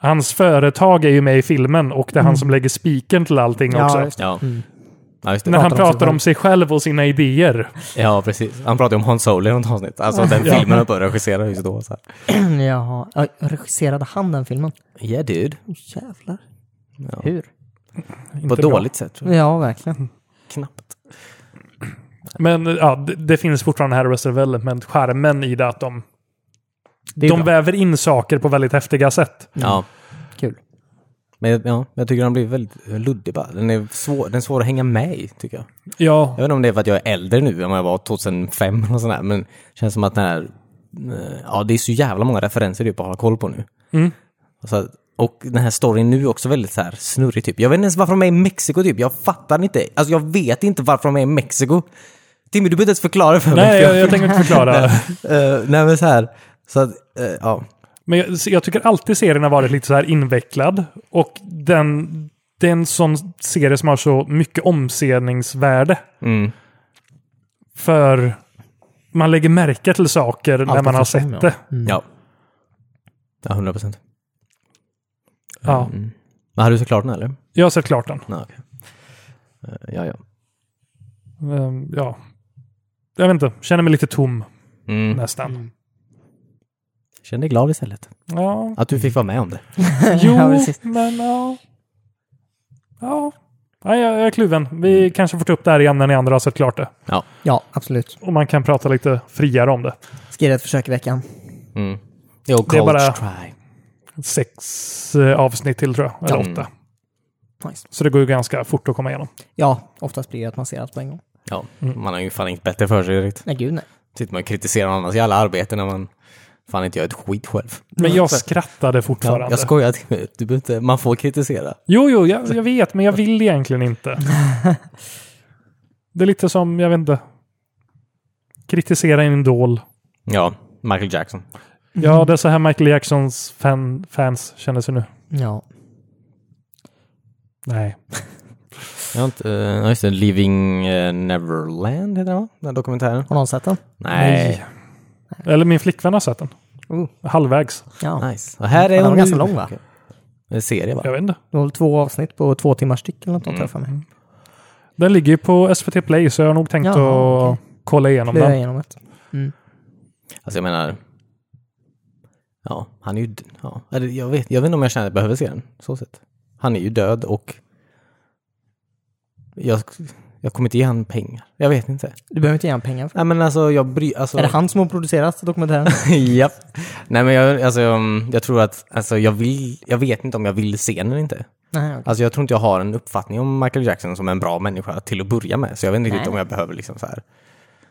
Speaker 3: Hans företag är ju med i filmen och det är han som lägger spiken till allting
Speaker 2: Mm.
Speaker 3: också.
Speaker 2: Ja, just det.
Speaker 1: Ja. ja, just det.
Speaker 3: När Mm. han
Speaker 2: pratar om sig
Speaker 3: pratar om sig själv och sina idéer.
Speaker 1: Ja, precis. Han pratade om Han Solo i något avsnitt. Alltså den filmen han började regissera just då. Så här.
Speaker 2: Jaha. Ja, regisserade han den filmen?
Speaker 1: Yeah, dude.
Speaker 2: Åh, Jävlar.
Speaker 1: Ja.
Speaker 2: Hur?
Speaker 1: På
Speaker 3: Inte
Speaker 1: ett
Speaker 3: bra.
Speaker 1: dåligt sätt. tror jag.
Speaker 2: Ja, verkligen.
Speaker 1: Knappt.
Speaker 3: Men ja, det, det finns fortfarande här i Resident Development, skärmen i det att de,
Speaker 2: Det är
Speaker 3: de
Speaker 2: bra.
Speaker 3: väver in saker på väldigt häftiga sätt.
Speaker 1: Ja.
Speaker 2: Kul.
Speaker 1: Men ja, jag tycker den blir väldigt luddig bara. Den är svår, den är svår att hänga med i, tycker jag.
Speaker 3: Ja,
Speaker 1: Jag vet inte om det är för att jag är äldre nu än vad jag var 2005 eller något sånt där, men det känns som att den här... eh, Ja, det är så jävla många referenser typ att hålla koll på nu. Så, att- och den här storyn nu är också väldigt så här snurrig typ. Jag vet inte ens varför de är i Mexiko typ. Jag fattar inte. Alltså jag vet inte varför de är i Mexiko. Timmy, du behöver inte ens förklara för mig.
Speaker 3: nej,
Speaker 1: för
Speaker 3: jag, jag tänker inte förklara.
Speaker 1: Eh, nej men så här. Så att, eh, ja.
Speaker 3: Men jag, jag tycker alltid serien har varit lite så här invecklad. Och den, det är en sån serie som har så mycket omsedningsvärde. För man lägger märke till saker när man har
Speaker 2: eftersom,
Speaker 3: sett
Speaker 2: ja.
Speaker 3: det.
Speaker 1: Ja. Ja, 100 procent.
Speaker 3: Ja.
Speaker 1: Men har du sett klart den eller?
Speaker 3: Jag har sett klart den.
Speaker 1: Nej, okej. Eh, ja, ja.
Speaker 3: Ehm, Ja. Jag vet inte, känner mig lite tom
Speaker 1: Mm.
Speaker 3: nästan.
Speaker 1: Känn dig glad istället.
Speaker 3: Ja,
Speaker 1: Att du fick vara med om det.
Speaker 3: jo,
Speaker 2: Ja, precis.
Speaker 3: men ja. Ja, Nej, jag, jag är kluven. Vi kanske får ta upp det här igen när ni andra har sett klart det.
Speaker 1: Ja.
Speaker 2: Ja, absolut.
Speaker 3: Och man kan prata lite friare om det.
Speaker 2: Ska ge det ett försök i veckan.
Speaker 1: Mm. Jo,
Speaker 3: Det är
Speaker 1: coach
Speaker 3: bara-
Speaker 1: try.
Speaker 3: Sex eh, avsnitt till tror jag, eller
Speaker 1: Ja.
Speaker 3: åtta.
Speaker 2: Nice.
Speaker 3: Så det går ju ganska fort att komma igenom.
Speaker 2: Ja, oftast blir det att man ser allt på en gång.
Speaker 1: Ja, man har ju fan inget bättre för sig direkt.
Speaker 2: Nej, gud nej.
Speaker 1: Sitter man och kritiserar annars jävla arbete när man fan inte gör ett skit själv.
Speaker 3: Men jag skrattade
Speaker 1: Ja,
Speaker 3: fortfarande.
Speaker 1: jag skojar till mig. Du behöver inte, man får kritisera.
Speaker 3: Jo, jo, jag, jag vet, men jag vill egentligen inte. Det är lite som, jag vet inte. Kritisera en idol.
Speaker 1: Ja, Michael Jackson.
Speaker 3: Ja, det är så här Michael Jacksons fan, fans känner sig nu.
Speaker 2: Ja.
Speaker 3: Nej.
Speaker 1: Jag har inte, eh, ja, just det, Living eh, Neverland heter den va? Den här dokumentären?
Speaker 2: Har någon sett den?
Speaker 1: Nej.
Speaker 3: Eller min flickvän har sett den.
Speaker 2: Oh.
Speaker 3: Halvvägs.
Speaker 2: Ja.
Speaker 1: Nice. Och här är
Speaker 2: Den var
Speaker 1: hon
Speaker 2: ganska
Speaker 1: nu.
Speaker 2: lång, va?
Speaker 1: Okej. En serie va?
Speaker 3: Jag vet inte.
Speaker 2: Det var väl två avsnitt på två timmar styck eller något sånt här för
Speaker 1: Mm.
Speaker 2: mig.
Speaker 3: Den ligger ju på SVT Play, så jag har nog tänkt
Speaker 2: Jaha,
Speaker 3: att
Speaker 2: okej.
Speaker 3: kolla igenom
Speaker 2: Blev jag
Speaker 3: den.
Speaker 2: igenom ett.
Speaker 1: Alltså jag menar... Ja, han är ju... d- Ja, eller jag, vet, jag vet inte om jag känner att jag behöver se den. Så sett. Han är ju död och... Jag, jag kommer inte ge han pengar. Jag vet inte.
Speaker 2: Du behöver inte ge honom pengar för
Speaker 1: Nej men alltså jag bryr... Alltså,
Speaker 2: det. Är det han som har producerat dokumentären?
Speaker 1: Japp. Nej men jag, alltså, jag, jag tror att... Alltså jag vill... Jag vet inte om jag vill se den eller inte.
Speaker 2: nej, okej.
Speaker 1: Alltså jag tror inte jag har en uppfattning om Michael Jackson som en bra människa till att börja med. Så jag vet inte
Speaker 2: Nej.
Speaker 1: riktigt om jag behöver liksom så här...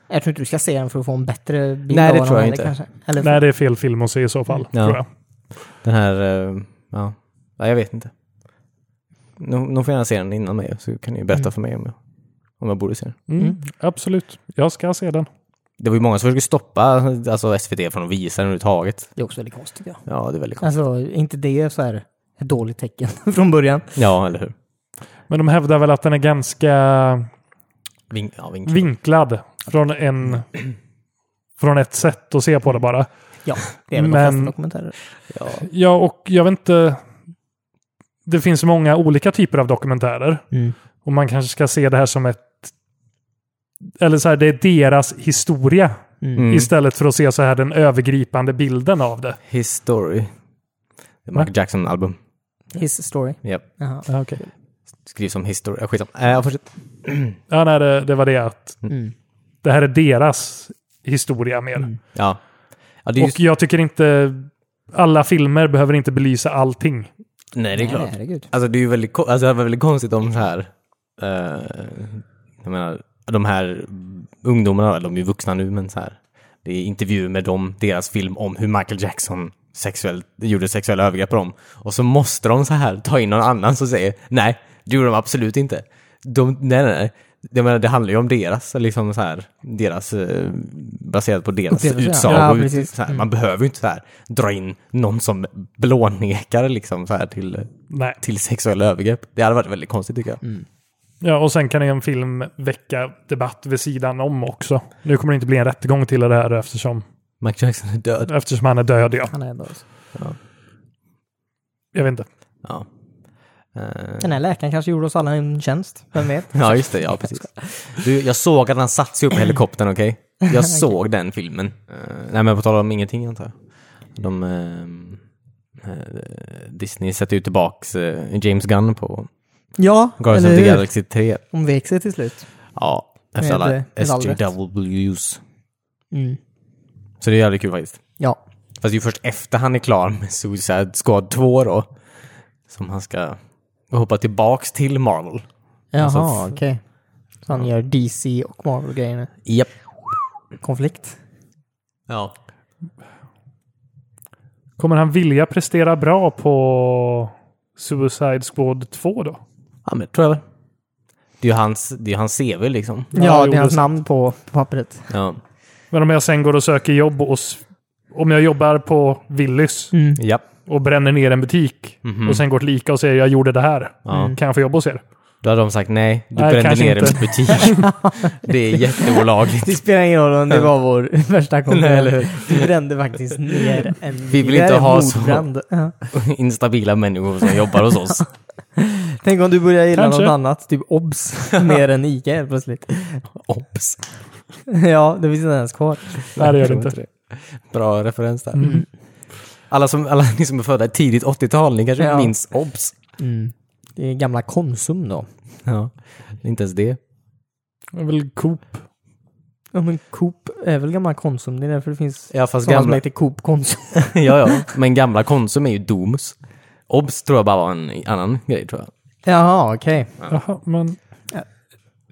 Speaker 2: Jag tror inte du ska se den för att få en bättre bild
Speaker 1: Nej,
Speaker 2: av
Speaker 1: det
Speaker 2: honom
Speaker 1: tror jag
Speaker 2: heller,
Speaker 1: inte.
Speaker 2: Kanske. Eller
Speaker 3: Nej, det är fel film att se i så fall.
Speaker 1: Ja.
Speaker 3: Tror jag.
Speaker 1: Den här, eh, ja, Nej, jag vet inte. Någon någon får gärna se den innan mig så kan ni ju berätta för mig om jag, om jag borde se den.
Speaker 3: Mm, Absolut. Jag ska se den.
Speaker 1: Det var ju många som försökte stoppa alltså, SVT från att visa den överhuvudtaget.
Speaker 2: Det är också väldigt konstigt. Ja.
Speaker 1: Ja, det är väldigt konstigt.
Speaker 2: Alltså, är inte det så här ett dåligt tecken från början?
Speaker 1: Ja, eller hur?
Speaker 3: Men de hävdar väl att den är ganska
Speaker 1: Ving, ja, ving.
Speaker 3: vinklad från en från ett sätt att se på det bara.
Speaker 2: Ja, det är väl
Speaker 3: Men-
Speaker 2: de flesta dokumentärer.
Speaker 1: Ja.
Speaker 3: Ja, och jag vet inte. Det finns många olika typer av dokumentärer
Speaker 2: Mm.
Speaker 3: och man kanske ska se det här som ett eller så här, det är deras historia
Speaker 1: Mm.
Speaker 3: istället för att se så här den övergripande bilden av det.
Speaker 1: His story. Det är
Speaker 3: Va?
Speaker 1: Michael Jackson-album.
Speaker 2: His story.
Speaker 1: Japp.
Speaker 2: Jaha.
Speaker 3: Ja, okay.
Speaker 1: Skrivs som history. Äh, skitsamma. Äh, jag fortsätter.
Speaker 3: ja nej, det, det var det att
Speaker 2: Mm.
Speaker 3: det här är deras historia mer.
Speaker 1: Ja. ja det är just,
Speaker 3: Och jag tycker inte alla filmer behöver inte belysa allting.
Speaker 1: Nej, det är klart.
Speaker 2: Herregud.
Speaker 1: Alltså det är ju väldigt, ko- alltså, det var väldigt konstigt om så här, eh, jag menar, de här ungdomarna, de är ju vuxna nu, men så här, det är intervjuer med dem, deras film om hur Michael Jackson sexuellt, gjorde sexuella övergrepp på dem. Och så måste de så här ta in någon annan som säger nej, det gjorde de absolut inte. De, nej, nej, nej. Jag menar, det handlar ju om deras, liksom så här, deras, eh, baserat på deras
Speaker 2: Upplevelse, ja.
Speaker 1: utsagor.
Speaker 2: Ja,
Speaker 1: ut-
Speaker 2: precis. Mm.
Speaker 1: så här, Man behöver ju inte så här, dra in någon som blånekar liksom, så här, till
Speaker 3: Nej.
Speaker 1: till sexuella övergrepp. Det hade varit väldigt konstigt tycker jag.
Speaker 2: Mm.
Speaker 3: Ja, och sen kan en film väcka debatt vid sidan om också. Nu kommer det inte bli en rättegång till det här eftersom,
Speaker 1: Michael Jackson är
Speaker 2: Mm.
Speaker 1: död.
Speaker 3: eftersom han är död. Ja.
Speaker 2: Han är ändå...
Speaker 3: Jag vet inte.
Speaker 1: Ja. Eh,
Speaker 2: Den här läkaren kanske gjorde oss alla en tjänst, vem vet?
Speaker 1: ja, just det. Ja, precis. Du, jag såg att han satte sig upp i helikoptern, okej? Jag såg den filmen. Eh, nej, men på tal om ingenting antar jag. De, eh, eh, Disney sätter ju tillbaks eh, James Gunn på
Speaker 2: Ja,
Speaker 1: Guardians of the
Speaker 2: eller hur?
Speaker 1: Galaxy 3.
Speaker 2: De vek sig till slut.
Speaker 1: Ja, efter
Speaker 2: Med, eh,
Speaker 1: alla
Speaker 2: med all rätt.
Speaker 1: SJWs.
Speaker 2: Mm.
Speaker 1: Så det är jävligt kul faktiskt.
Speaker 2: Ja.
Speaker 1: Fast det är ju först efter han är klar med Suicide Squad 2 då. Som han ska hoppa tillbaks till Marvel.
Speaker 2: Jaha,
Speaker 1: Alltså, f-
Speaker 2: okej. Så han gör DC och Marvel-grejer nu.
Speaker 1: Japp.
Speaker 2: Konflikt.
Speaker 1: Ja.
Speaker 3: Kommer han vilja prestera bra på Suicide Squad 2 då?
Speaker 1: Ja men det tror jag väl. Det är ju hans, det är ju hans CV liksom.
Speaker 2: Ja,
Speaker 3: Ja, jo,
Speaker 2: det är hans
Speaker 3: det-
Speaker 2: namn på, på pappret.
Speaker 1: Ja.
Speaker 3: Men om jag sen går och söker jobb och s- om jag jobbar på Willys
Speaker 2: Mm.
Speaker 1: Japp.
Speaker 3: och bränner ner en butik och sen går till Ica och säger jag gjorde det här.
Speaker 1: Mhm. Ja.
Speaker 3: Kan jag få jobb hos er?
Speaker 1: Då hade de sagt nej, du
Speaker 3: Nej,
Speaker 1: brände
Speaker 3: kanske
Speaker 1: ner
Speaker 3: inte.
Speaker 1: en butik. det är jätteolagligt.
Speaker 2: Det spelar ingen roll om det var vår värsta
Speaker 1: Nej, eller hur?
Speaker 2: konkurrent. Vi brände faktiskt ner en...
Speaker 1: Vi vill
Speaker 2: det här
Speaker 1: inte
Speaker 2: är en
Speaker 1: ha så.
Speaker 2: mordbrand. Ja.
Speaker 1: Instabila människor som jobbar hos oss.
Speaker 2: Tänk om du börjar gilla
Speaker 3: Kanske.
Speaker 2: något annat, typ OBS, mer än ICA helt plötsligt.
Speaker 1: Ops.
Speaker 2: ja, det finns inte ens kvar.
Speaker 3: Nej, det gör
Speaker 1: Jag
Speaker 3: det
Speaker 1: tror
Speaker 3: inte.
Speaker 2: Mm.
Speaker 1: inte Bra referens där. Alla, som, alla ni som är födda i tidigt 80-tal, ni kanske
Speaker 2: Ja.
Speaker 1: minns obs.
Speaker 2: Mm. Det är gamla Konsum då.
Speaker 1: Ja. Inte ens det.
Speaker 3: Det är väl Coop.
Speaker 2: Ja men Coop är väl gamla Konsum, det är därför det finns
Speaker 1: Ja, fast
Speaker 2: sådana som
Speaker 1: gamla,
Speaker 2: heter Coop Konsum.
Speaker 1: ja, ja. Men gamla Konsum är ju Domus. Obs tror jag bara var en annan grej tror jag.
Speaker 2: Jaha, okej.
Speaker 3: Jaha, men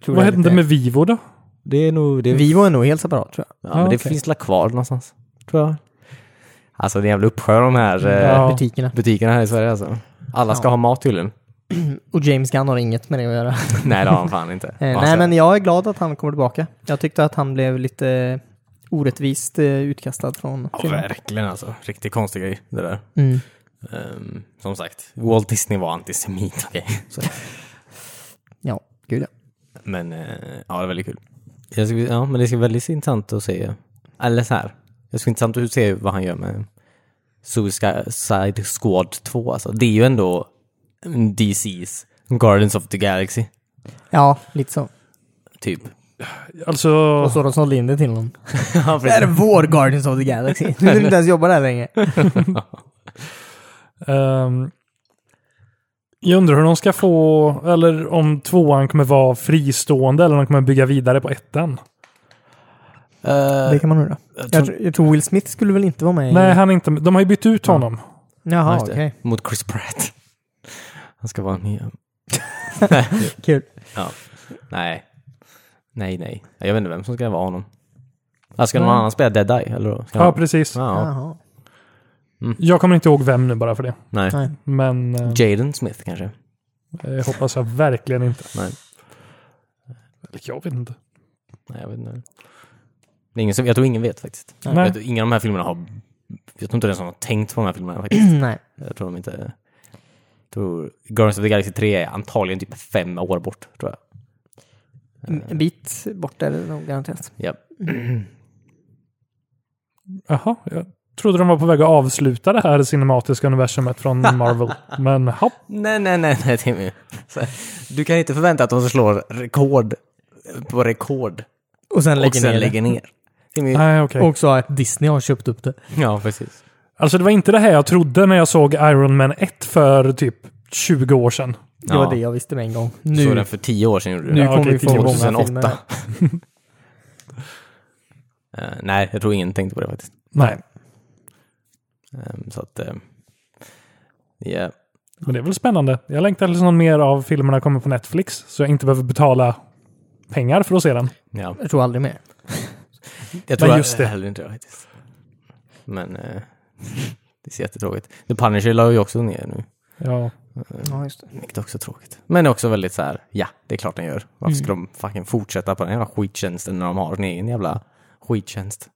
Speaker 2: Tror
Speaker 3: vad
Speaker 2: jag
Speaker 3: hände
Speaker 2: lite-
Speaker 3: med Vivo då?
Speaker 1: Det är nog... Det,
Speaker 2: Vivo är nog helt separat tror jag.
Speaker 1: ja, men det
Speaker 3: okej.
Speaker 1: finns la kvar någonstans. Tror jag. Alltså det är en jävla uppsjö av de här eh,
Speaker 3: Ja.
Speaker 2: Butikerna.
Speaker 1: butikerna här i Sverige alltså. Alla ska
Speaker 2: Ja.
Speaker 1: ha mat tydligen.
Speaker 2: Och James Gunn har inget med det att göra.
Speaker 1: Nej det har han fan inte.
Speaker 2: Eh,
Speaker 1: Alltså,
Speaker 2: Nej, men jag är glad att han kommer tillbaka. Jag tyckte att han blev lite orättvist eh, utkastad från
Speaker 1: Ja,
Speaker 2: filmen.
Speaker 1: verkligen alltså. Riktigt konstig grej det där.
Speaker 2: Mm.
Speaker 1: Ehm, som sagt, Walt Disney var antisemit, okej. Så-
Speaker 2: Ja, gud ja.
Speaker 1: Men eh, ja, det är väldigt kul. Jag skulle, ja, men det ska bli väldigt intressant att se. Eller så här. Det ska bli intressant att se vad han gör med Suicide Squad 2. Alltså, det är ju ändå DC's Guardians of the Galaxy,
Speaker 2: Ja, lite så.
Speaker 1: typ.
Speaker 3: Alltså,
Speaker 2: Och så de sålde in det till honom.
Speaker 1: Ja,
Speaker 2: Det här är vår Guardians of the Galaxy. Nu vill inte ens jobba där längre.
Speaker 3: ehm, jag undrar hur de ska få, eller om tvåan kommer vara fristående eller om de kommer bygga vidare på ettan.
Speaker 1: Eh,
Speaker 2: Det kan man undra. Jag, tror- jag tror Will Smith skulle väl inte vara med i...
Speaker 3: Nej, han är inte, de har ju bytt ut honom.
Speaker 2: Jaha, okej.
Speaker 1: Mot Chris Pratt. Han ska vara ny.
Speaker 2: Kul.
Speaker 1: Nej. Nej, nej. Jag vet inte vem som ska vara honom. Ja, Ska någon annan spela Dead Eye? Eller? då? Ska
Speaker 3: Ja,
Speaker 1: han-
Speaker 3: precis.
Speaker 1: Ja,
Speaker 2: Jaha.
Speaker 3: Jag kommer inte ihåg vem nu bara för det.
Speaker 1: nej.
Speaker 2: Nej.
Speaker 3: Men eh,
Speaker 1: Jaden Smith kanske?
Speaker 3: jag hoppas jag verkligen inte.
Speaker 1: Nej.
Speaker 3: Eller Jag vet inte.
Speaker 1: Nej, jag vet inte. Det är ingen som, jag tror ingen vet faktiskt. Jag
Speaker 3: Nej.
Speaker 1: tror, inga av de här filmerna har... Jag tror inte ens de har tänkt på de här filmerna faktiskt.
Speaker 2: Nej.
Speaker 1: Jag tror de inte... Jag tror Guardians of the Galaxy 3 är antagligen typ fem år bort, tror jag. Eh,
Speaker 2: En bit bort är det nog garanterat.
Speaker 1: Ja.
Speaker 3: Jaha, jag trodde de var på väg att avsluta det här cinematiska universumet från Marvel. Men hopp.
Speaker 1: Nej, nej, nej, nej, Timmy. Så, du kan inte förvänta att de slår rekord på rekord
Speaker 2: Och sen
Speaker 1: och sen lägger ner. Timmy.
Speaker 3: Nej, okej.
Speaker 2: Och så att Disney har köpt upp det.
Speaker 1: Ja, precis.
Speaker 3: Alltså det var inte det här jag trodde när jag såg Iron Man 1 för typ 20 år sedan.
Speaker 2: Det
Speaker 1: Ja.
Speaker 2: var det jag visste med en gång.
Speaker 1: Nu. Såg den
Speaker 2: Nu,
Speaker 1: för tio år sedan gjorde du
Speaker 2: nu
Speaker 1: det.
Speaker 3: Ja,
Speaker 2: kommer
Speaker 3: okej,
Speaker 2: vi få många
Speaker 1: 2008.
Speaker 2: filmer. här.
Speaker 1: Eh, nej, jag tror ingen tänkte på det faktiskt.
Speaker 3: Nej.
Speaker 1: Ehm, Så att... eh, ehm, Ja.
Speaker 3: Men det är väl spännande. Jag längtar tills någon mer av filmerna kommer på Netflix så jag inte behöver betala pengar för att se den.
Speaker 1: Ja.
Speaker 2: Jag tror aldrig mer.
Speaker 1: Jag tror
Speaker 3: Men just det.
Speaker 1: heller inte det faktiskt. Men eh, det ser jättetråkigt. The Punisher la ju också ner nu.
Speaker 3: Ja,
Speaker 2: Ja, just det.
Speaker 1: Vilket också är tråkigt. Men också väldigt så här, ja, det är klart den gör. Varför ska
Speaker 3: Mm.
Speaker 1: de fucking fortsätta på den jävla skittjänsten när de har sin egen jävla skittjänst?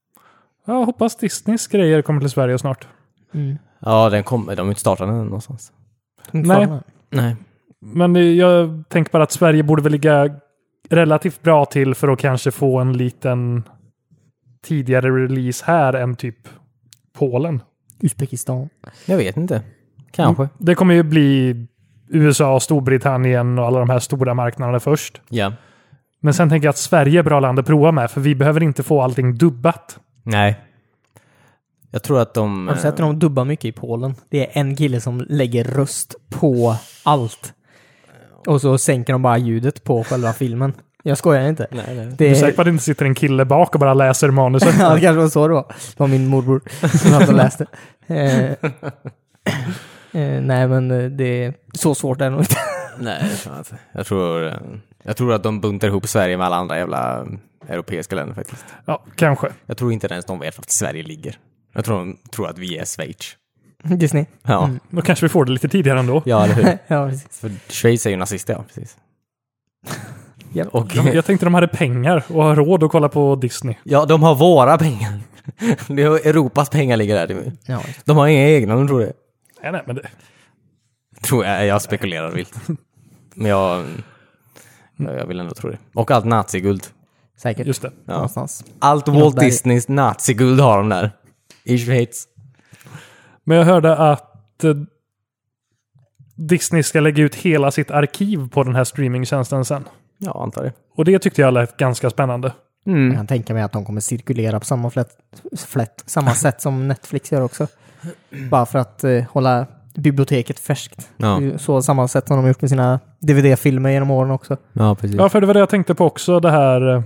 Speaker 3: jag hoppas Disneys grejer kommer till Sverige snart.
Speaker 2: Mm.
Speaker 1: Ja, den kommer, de har ju inte startat den någonstans.
Speaker 3: Nej.
Speaker 2: Nej.
Speaker 1: Nej.
Speaker 3: Men eh, jag tänker bara att Sverige borde väl ligga relativt bra till för att kanske få en liten tidigare release här än typ Polen.
Speaker 2: Uzbekistan.
Speaker 1: Jag vet inte. Kanske.
Speaker 3: Det kommer ju bli USA, Storbritannien och alla de här stora marknaderna först.
Speaker 1: Ja.
Speaker 3: Men sen tänker jag att Sverige är bra land att prova med, för vi behöver inte få allting dubbat.
Speaker 1: Nej. Jag tror att de... eh,
Speaker 2: Har du sett hur de dubbar mycket i Polen? Det är en kille som lägger röst på allt. Och så sänker de bara ljudet på själva filmen. Jag skojar inte.
Speaker 1: Nej, nej.
Speaker 3: Du är
Speaker 2: Det,
Speaker 3: säker på att det inte sitter en kille bak och bara läser manuset?
Speaker 2: ja, det kanske var så det var. Det var min morbror som satt och läste. Eh, eh, nej, men eh, det är så svårt är det nog inte.
Speaker 1: Nej, jag tror inte. Jag tror, eh, jag tror att de buntar ihop Sverige med alla andra jävla eh, europeiska länder faktiskt.
Speaker 3: Ja, kanske.
Speaker 1: Jag tror inte ens de vet vart Sverige ligger. Jag tror de tror att vi är Schweiz.
Speaker 2: Disney.
Speaker 1: Ja,
Speaker 3: Då kanske vi får det lite tidigare ändå.
Speaker 1: ja eller hur?
Speaker 2: Ja, precis.
Speaker 1: För Schweiz är ju nazister, ja precis.
Speaker 2: Japp.
Speaker 1: Och,
Speaker 3: Jag tänkte de hade pengar och har råd att kolla på Disney.
Speaker 1: ja, de har våra pengar. Det är Europas pengar ligger där. Timmy.
Speaker 2: Ja, just
Speaker 1: De har inga egna, de tror det.
Speaker 3: Nej, nej, men det,
Speaker 1: Tror jag, jag spekulerar vilt. Men jag, jag vill ändå tro det. Och allt naziguld.
Speaker 2: det. säkert.
Speaker 3: just det.
Speaker 2: Någonstans.
Speaker 1: Allt Walt Disneys naziguld har de där. I Schweiz.
Speaker 3: Men jag hörde att eh, Disney ska lägga ut hela sitt arkiv på den här streamingtjänsten sen.
Speaker 1: Ja, antar det.
Speaker 3: Och det tyckte jag lät ganska spännande.
Speaker 2: Jag kan tänka mig att de kommer cirkulera på samma, flätt, flätt, samma sätt som Netflix gör också. Bara för att eh, hålla biblioteket färskt.
Speaker 1: Ja.
Speaker 2: Det är ju Så samma sätt som de har gjort med sina DVD-filmer genom åren också.
Speaker 1: Ja, precis.
Speaker 3: Ja, för det var det jag tänkte på också, det här eh,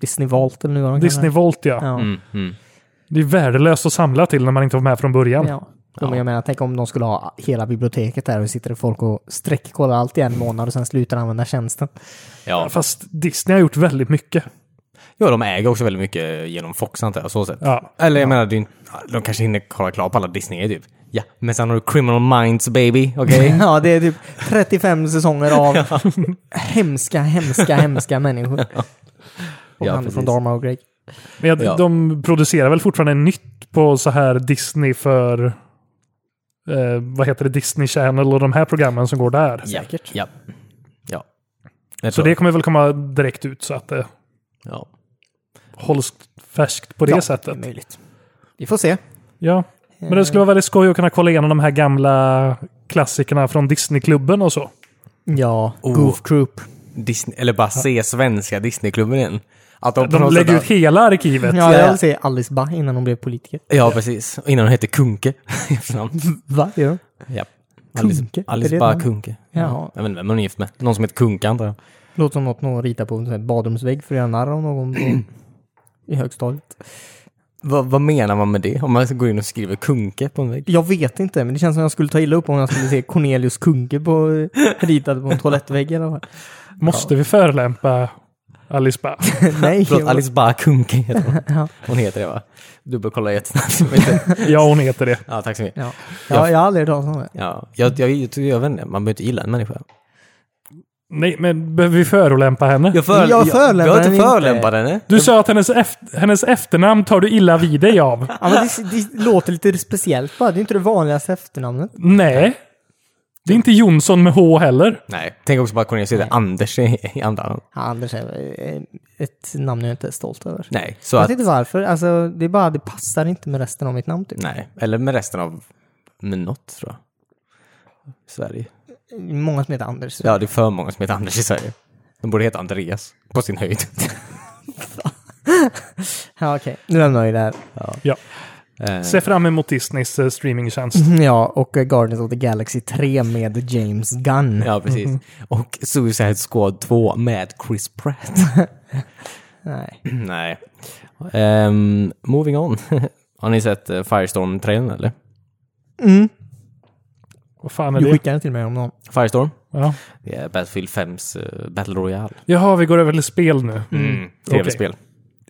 Speaker 2: Disney Vault eller nu vad de
Speaker 3: Disney
Speaker 2: kallar
Speaker 3: Volt, ja.
Speaker 2: det. Ja.
Speaker 1: Mm, mm.
Speaker 3: Det är värdelöst att samla till när man inte var med från början.
Speaker 2: ja. Jo, Men jag menar, tänk om de skulle ha hela biblioteket där och sitter det folk och sträckkollar allt i en månad och sen slutar använda tjänsten.
Speaker 1: Ja.
Speaker 3: Fast Disney har gjort väldigt mycket.
Speaker 1: ja, de äger också väldigt mycket genom Fox, antar jag. Så sett.
Speaker 3: Ja.
Speaker 1: Eller jag menar, det är ju inte- de kanske hinner kolla klart på alla Disney typ. Ja, men sen har du Criminal Minds baby, okej?
Speaker 3: Mm.
Speaker 2: Ja, det är typ 35 säsonger av hemska, hemska, hemska människor. Och
Speaker 1: Ja,
Speaker 2: han
Speaker 1: precis.
Speaker 2: från Dharma och Greg.
Speaker 3: Men jag,
Speaker 1: Ja.
Speaker 3: de producerar väl fortfarande nytt på så här Disney för... Eh, vad heter det? Disney Channel och de här programmen som går där.
Speaker 1: Säkert. Ja. Ja. Jag
Speaker 3: Så
Speaker 1: tror
Speaker 3: det kommer väl komma direkt ut så att det
Speaker 1: Ja.
Speaker 3: hålls färskt på det sättet.
Speaker 2: Det är möjligt. Vi får se.
Speaker 3: Ja. Men det skulle vara väldigt skoj att kunna kolla igenom de här gamla klassikerna från Disneyklubben och så.
Speaker 2: Ja,
Speaker 1: Oh.
Speaker 2: Goof Troop.
Speaker 1: Disney, eller bara se svenska Disneyklubben igen. Att de, på
Speaker 3: De
Speaker 1: något sätt
Speaker 3: lägger ut
Speaker 1: har-
Speaker 3: hela arkivet.
Speaker 2: Ja,
Speaker 1: ja.
Speaker 2: jag vill se Alice Bah innan hon blev politiker.
Speaker 1: Ja, precis. Innan hon hette Kunke. i efternamn.
Speaker 2: Va? Gör hon?
Speaker 1: ja.
Speaker 2: Kunke?
Speaker 1: Alice,
Speaker 2: Är det
Speaker 1: Alice bara
Speaker 2: någon?
Speaker 1: Kunke.
Speaker 2: Ja.
Speaker 1: Jag vet inte vem hon är gift med. Någon som heter Kunke, antar jag.
Speaker 2: Låter som något någon ritar på en sån här badrumsvägg för att göra narr av någon på, i högstadiet.
Speaker 1: Vad, vad menar man med det? Om man går in och skriver Kunke på en vägg?
Speaker 2: Jag vet inte, men det känns som jag skulle ta illa upp om jag skulle se Cornelius Kunke på, ritad på en toalettvägg eller vad.
Speaker 3: Måste vi förelämpa Alice Bah?
Speaker 2: Nej.
Speaker 1: Förlåt,
Speaker 2: jag-
Speaker 1: Alice bara Kunke heter hon. Hon heter det, va? Dubbelkolla jättesnabbt.
Speaker 3: ja, hon heter det.
Speaker 1: ja, tack så mycket.
Speaker 2: Ja. Ja, jag har aldrig hört talas om det.
Speaker 1: Ja, jag, jag, jag, jag vet inte, man behöver inte gilla en människa.
Speaker 3: Nej, men behöver vi förolämpa henne?
Speaker 1: Jag,
Speaker 2: Jag förolämpar
Speaker 1: jag, jag har inte
Speaker 2: henne
Speaker 1: förolämpat henne.
Speaker 3: Du sa att hennes, eft- hennes efternamn tar du illa vid dig av.
Speaker 2: Ja, men det, det låter lite speciellt bara. Det är inte det vanligaste efternamnet.
Speaker 3: Nej. Det är inte Jonsson med H heller.
Speaker 1: Nej, tänk också bara att Cornelius heter Anders i, i andra hand.
Speaker 2: Ja, Anders är eh, ett namn jag inte är stolt över.
Speaker 1: Nej, så
Speaker 2: jag
Speaker 1: att...
Speaker 2: vet inte varför. Alltså, det är bara, det passar inte med resten av mitt namn typ.
Speaker 1: Nej, eller med resten av... Med något, tror jag. Sverige.
Speaker 2: Många som heter Anders.
Speaker 1: Ja, det är för många som heter Anders i Sverige. De borde heta Andreas, på sin höjd.
Speaker 2: Ja, okej. Nu lämnar vi det här.
Speaker 3: Ja.
Speaker 1: Eh,
Speaker 3: Se fram emot Disneys eh, streamingtjänst.
Speaker 2: Ja, och eh, Guardians of the Galaxy 3 med James Gunn.
Speaker 1: ja, precis. Och Suicide Squad 2 med Chris Pratt.
Speaker 2: Nej.
Speaker 1: Nej. Ehm, moving on. Har ni sett eh, Firestorm-trailern, eller?
Speaker 3: Vad fan är
Speaker 2: Mm. Du
Speaker 3: det?
Speaker 2: skickade den till mig om någon.
Speaker 1: Firestorm.
Speaker 3: Ja.
Speaker 1: Det är Battlefield 5s eh, Battle Royale.
Speaker 3: Jaha, vi går över till spel nu.
Speaker 1: Mm. Tv-spel.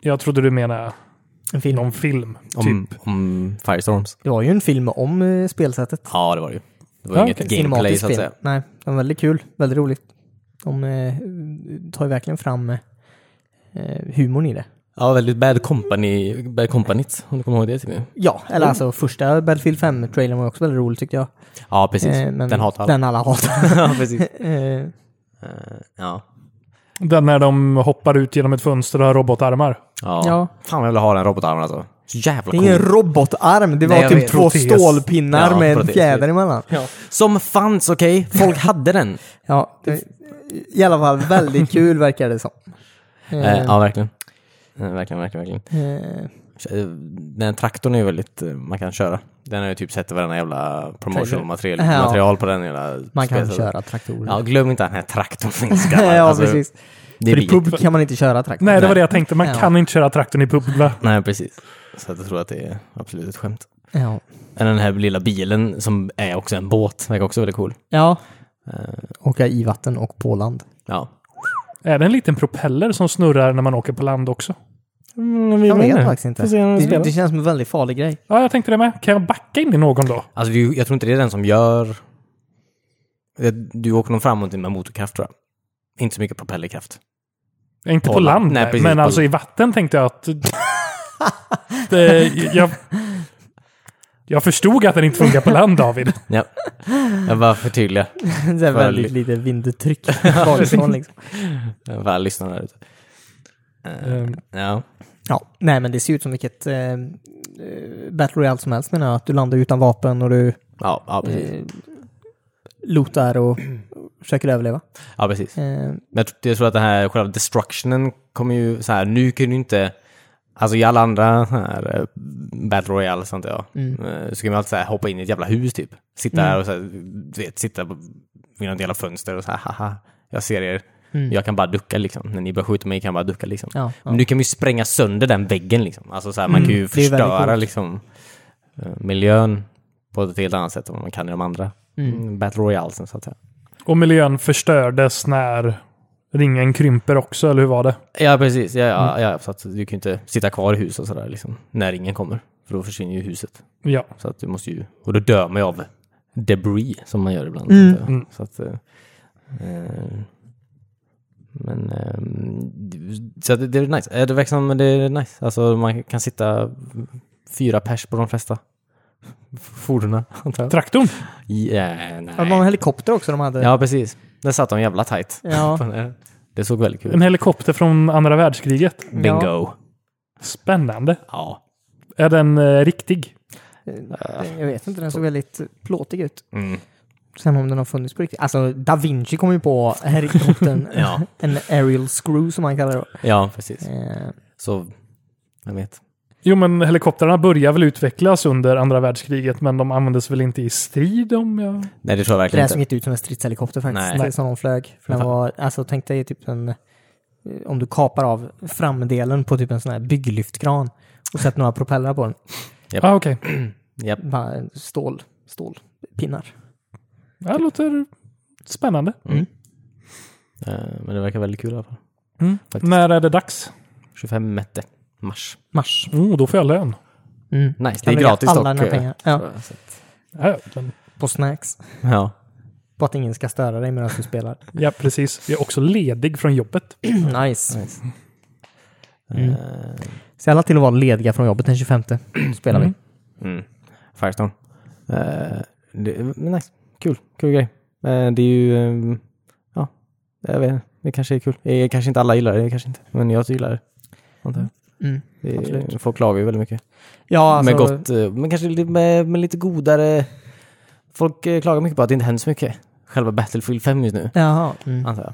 Speaker 3: Jag trodde du menade
Speaker 2: En film.
Speaker 3: någon film. Typ.
Speaker 1: Om, om Firestorms.
Speaker 2: Det var ju en film om eh, spelsättet.
Speaker 1: Ja, det var det ju. Det var
Speaker 3: Ja,
Speaker 1: inget
Speaker 2: Ett
Speaker 1: gameplay
Speaker 2: cinematiskt
Speaker 1: så att
Speaker 2: spel.
Speaker 1: säga.
Speaker 2: Nej, den var väldigt kul. Väldigt roligt. De eh, tar ju verkligen fram eh, eh, humorn i det.
Speaker 1: Ja, väldigt Bad Company, Bad Companyt, om du kommer ihåg det till nu.
Speaker 2: Ja, eller
Speaker 1: Mm.
Speaker 2: alltså första Battlefield 5-trailern var också väldigt rolig tyckte jag.
Speaker 1: Ja, precis.
Speaker 2: Eh, men
Speaker 1: den hatar alla.
Speaker 2: Den alla hatar.
Speaker 1: ja, precis.
Speaker 2: Eh,
Speaker 1: Eh, ja.
Speaker 3: Den när de hoppar ut genom ett fönster och har robotarmar.
Speaker 1: Ja.
Speaker 2: Ja.
Speaker 1: Fan vad jag vill ha den robotarmen alltså. Så jävla
Speaker 2: det
Speaker 1: cool.
Speaker 2: är ingen robotarm, det var
Speaker 1: Nej, jag
Speaker 2: typ
Speaker 1: vet.
Speaker 2: två
Speaker 3: Protes.
Speaker 2: stålpinnar
Speaker 1: Ja,
Speaker 2: med en
Speaker 1: protes.
Speaker 2: fjäder emellan.
Speaker 1: Som fanns, okej? Folk hade den.
Speaker 2: Ja, det, i alla fall väldigt kul verkar det som. Eh,
Speaker 1: Eh, ja, verkligen. Eh, verkligen, verkligen, verkligen.
Speaker 2: eh,
Speaker 1: Eh, Den traktorn är ju väldigt, eh, man kan köra. Den har ju typ sett i varenda jävla promotional material,
Speaker 2: Ja.
Speaker 1: material på den hela
Speaker 2: man kan
Speaker 1: spelet.
Speaker 2: köra traktorer.
Speaker 1: Ja, glöm inte den här traktorn finns gammal.
Speaker 2: ja,
Speaker 1: Alltså,
Speaker 2: precis.
Speaker 1: Det
Speaker 2: För i
Speaker 1: blir
Speaker 2: pub kan man inte köra traktor.
Speaker 3: Nej, det var det jag tänkte. Man
Speaker 2: Ja.
Speaker 3: kan inte köra traktorn i bubbla.
Speaker 1: Nej, precis. Så att jag tror att det är absolut ett skämt.
Speaker 2: Ja.
Speaker 1: Men Den här lilla bilen som är också en båt, verkar också väldigt cool.
Speaker 2: ja.
Speaker 1: Eh,
Speaker 2: Åka i vatten och på land.
Speaker 1: Ja.
Speaker 3: Är det en liten propeller som snurrar när man åker på land också?
Speaker 2: Jag vet faktiskt inte.
Speaker 1: Får se när Mm, vi
Speaker 2: Det,
Speaker 1: spelar.
Speaker 2: det känns som en väldigt farlig grej.
Speaker 3: Ja, jag tänkte det med. Kan jag backa in i någon då?
Speaker 1: Alltså, det är ju- jag tror inte det är den som gör... Det- Du åker nog framåt med motorkraft tror jag. Inte så mycket propellerkraft.
Speaker 3: Inte på,
Speaker 1: På land.
Speaker 3: land,
Speaker 1: Nej,
Speaker 3: nej,
Speaker 1: precis,
Speaker 3: men
Speaker 1: på-
Speaker 3: alltså i vatten tänkte jag att... det, jag, jag förstod att den inte funkar på land, David.
Speaker 1: Ja. Jag bara förtydligar
Speaker 2: Det är väldigt lite vindtryck bakifrån liksom.
Speaker 1: för alla lyssnare där ute. Eh,
Speaker 3: Ehm,
Speaker 1: Ja.
Speaker 2: Ja, nej men det ser ut som vilket eh, eh, Battle Royale som helst menar jag. Att du landar utan vapen och du
Speaker 1: Ja, ja, precis.
Speaker 2: eh, lotar och försöker överleva.
Speaker 1: ja, precis.
Speaker 2: Eh,
Speaker 1: Men jag, tr- jag tror att den här själva destructionen kommer ju så här, nu kan du inte, alltså i alla andra så här eh, Battle Royale och sånt ja, eh, så kan man alltid så här, hoppa in i ett jävla hus typ. Sitta där och så här, du vet, sitta på- vid något jävla fönster och så här, haha, jag ser er. Jag kan bara ducka liksom. När ni börjar skjuta mig kan jag bara ducka liksom.
Speaker 2: Ja, ja.
Speaker 1: Men nu kan man ju spränga sönder den väggen liksom. Alltså så här, man kan ju
Speaker 2: Mm, det är väldigt
Speaker 1: förstöra
Speaker 2: coolt.
Speaker 1: liksom eh, miljön på ett helt annat sätt än vad man kan i de andra mm. Battle Royalesen så att säga.
Speaker 3: och miljön förstördes när ringen krymper också, eller hur var det?
Speaker 1: Ja, precis. Ja, ja,
Speaker 2: Mm.
Speaker 1: ja, så att du kan ju inte sitta kvar i hus och sådär liksom, när ingen kommer. För då försvinner ju huset.
Speaker 3: Ja.
Speaker 1: Så att du måste ju, och då dör man ju av debris som man gör ibland.
Speaker 3: Mm.
Speaker 1: Så att, eh, eh, men eh, så att det, det är nice. Eh, Det verkar som det är nice. Alltså man kan sitta fyra pers på de flesta fordonen. antar jag.
Speaker 3: Traktorn?
Speaker 1: Ja,
Speaker 2: ja, det var en
Speaker 1: nej.
Speaker 2: helikopter också de hade.
Speaker 1: ja, precis. Där satt de jävla tajt.
Speaker 2: Ja.
Speaker 1: Det såg väldigt kul
Speaker 3: En
Speaker 1: ut.
Speaker 3: helikopter från andra världskriget.
Speaker 1: Bingo.
Speaker 3: Spännande.
Speaker 1: Ja.
Speaker 3: Är den eh, riktig?
Speaker 2: Jag vet inte, den såg väldigt plåtig ut.
Speaker 1: Mm.
Speaker 2: Sen om den har funnits på riktigt. Alltså, Da Vinci kom ju på helikoptern.
Speaker 1: Ja.
Speaker 2: En aerial screw som man kallar det.
Speaker 1: ja, precis.
Speaker 2: Eh,
Speaker 1: Så, jag vet.
Speaker 3: Jo, men helikoptrarna började väl utvecklas under andra världskriget, men de användes väl inte i strid om jag...
Speaker 1: Nej, det tror jag
Speaker 2: Det där
Speaker 1: verkligen
Speaker 2: såg
Speaker 1: inte.
Speaker 2: inte ut som en stridshelikopter faktiskt,
Speaker 1: Nej.
Speaker 2: det som de flög. För den var, alltså tänk dig typ en, eh, om du kapar av framdelen på typ en sån här bygglyftkran och sätter några propellrar på den.
Speaker 3: Ah, okej.
Speaker 1: Japp.
Speaker 2: Bara en stål, stålpinnar.
Speaker 3: Ja, Det låter spännande.
Speaker 1: Eh, Men det verkar väldigt kul i alla fall. Faktiskt.
Speaker 3: När är det dags?
Speaker 1: 25 mätte mars.
Speaker 2: Mars.
Speaker 3: Oh, då får jag lön.
Speaker 2: Mm.
Speaker 1: Nice, det
Speaker 2: Kan
Speaker 1: är
Speaker 2: lägga
Speaker 1: gratis
Speaker 2: alla
Speaker 1: dock.
Speaker 2: dina
Speaker 1: eh,
Speaker 2: pengar. Ja.
Speaker 1: tror jag, så att-
Speaker 3: Ja, den-
Speaker 2: På snacks.
Speaker 1: Ja.
Speaker 2: På att ingen ska störa dig medan du spelar.
Speaker 3: ja, precis. Jag är också ledig från jobbet.
Speaker 2: nice.
Speaker 1: Mm.
Speaker 2: Se alla till att vara lediga från jobbet den 25. spelar vi.
Speaker 1: Mm. Firestorm. Eh, det, men nice, kul. Kul grej. Eh, det är ju, ehm, ja, jag vet inte. Det kanske är kul. Eh, kanske inte alla gillar det, kanske inte. Men jag gillar det. Antar jag.
Speaker 2: Mm.
Speaker 1: Det är-
Speaker 2: Absolut.
Speaker 1: Folk klagar ju väldigt mycket.
Speaker 2: Ja, alltså,
Speaker 1: med gott, eh, men kanske lite, med, med lite godare... Folk eh, klagar mycket på att det inte händer så mycket. Själva Battlefield 5 just nu,
Speaker 2: Jaha. Mm.
Speaker 1: antar jag.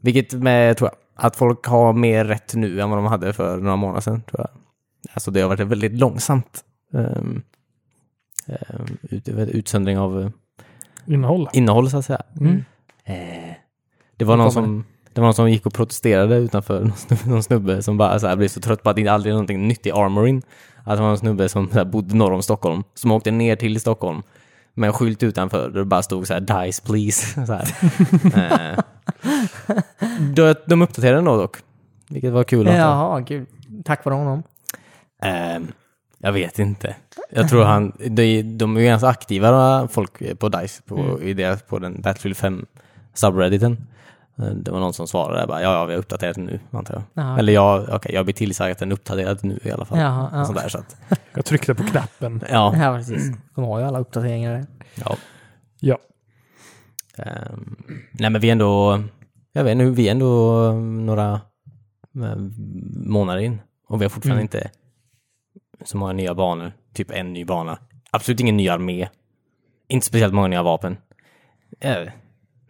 Speaker 1: Vilket med, tror jag, att folk har mer rätt nu än vad de hade för några månader sedan, tror jag. Alltså det har varit ett väldigt långsamt um, ut, vad heter det? utsöndring av eh,
Speaker 3: Innehåll.
Speaker 1: innehåll, så att säga.
Speaker 3: Mm.
Speaker 1: Eh, det var någon som... Det var någon som gick och protesterade utanför någon snubbe, någon snubbe som bara så här, blev så trött på att det aldrig är någonting nytt i Armorin. Att det var någon snubbe som så här, bodde norr om Stockholm, som åkte ner till Stockholm med en skylt utanför där det bara stod så här “Dice please”. Så här. Eh, de, de uppdaterade den då dock, vilket var kul. att ha.
Speaker 2: Jaha, kul. Tack vare honom.
Speaker 1: Ehm, jag vet inte. Jag tror han, de, de är ju ganska aktiva folk på DICE på, i deras, på den Battlefield 5 subredditen. Eh, Det var någon som svarade där bara, ja, ja vi har uppdaterat den nu, antar jag.
Speaker 2: Ja.
Speaker 1: Eller ja, okej, jag blir tillsagd att den är uppdaterad nu i alla fall.
Speaker 2: Jaha, Ah. ja.
Speaker 1: Sådär, Mm. så att,
Speaker 3: Jag tryckte på knappen.
Speaker 1: ja.
Speaker 2: Ja, precis. De har ju alla uppdateringar där.
Speaker 1: ja.
Speaker 3: Ja.
Speaker 1: Ehm, nej men vi är ändå, jag vet nu, vi är ändå eh, några eh, månader in och vi har fortfarande
Speaker 2: Mm.
Speaker 1: inte så många nya banor, typ en ny bana. Absolut ingen ny armé. Inte speciellt många nya vapen. Eh,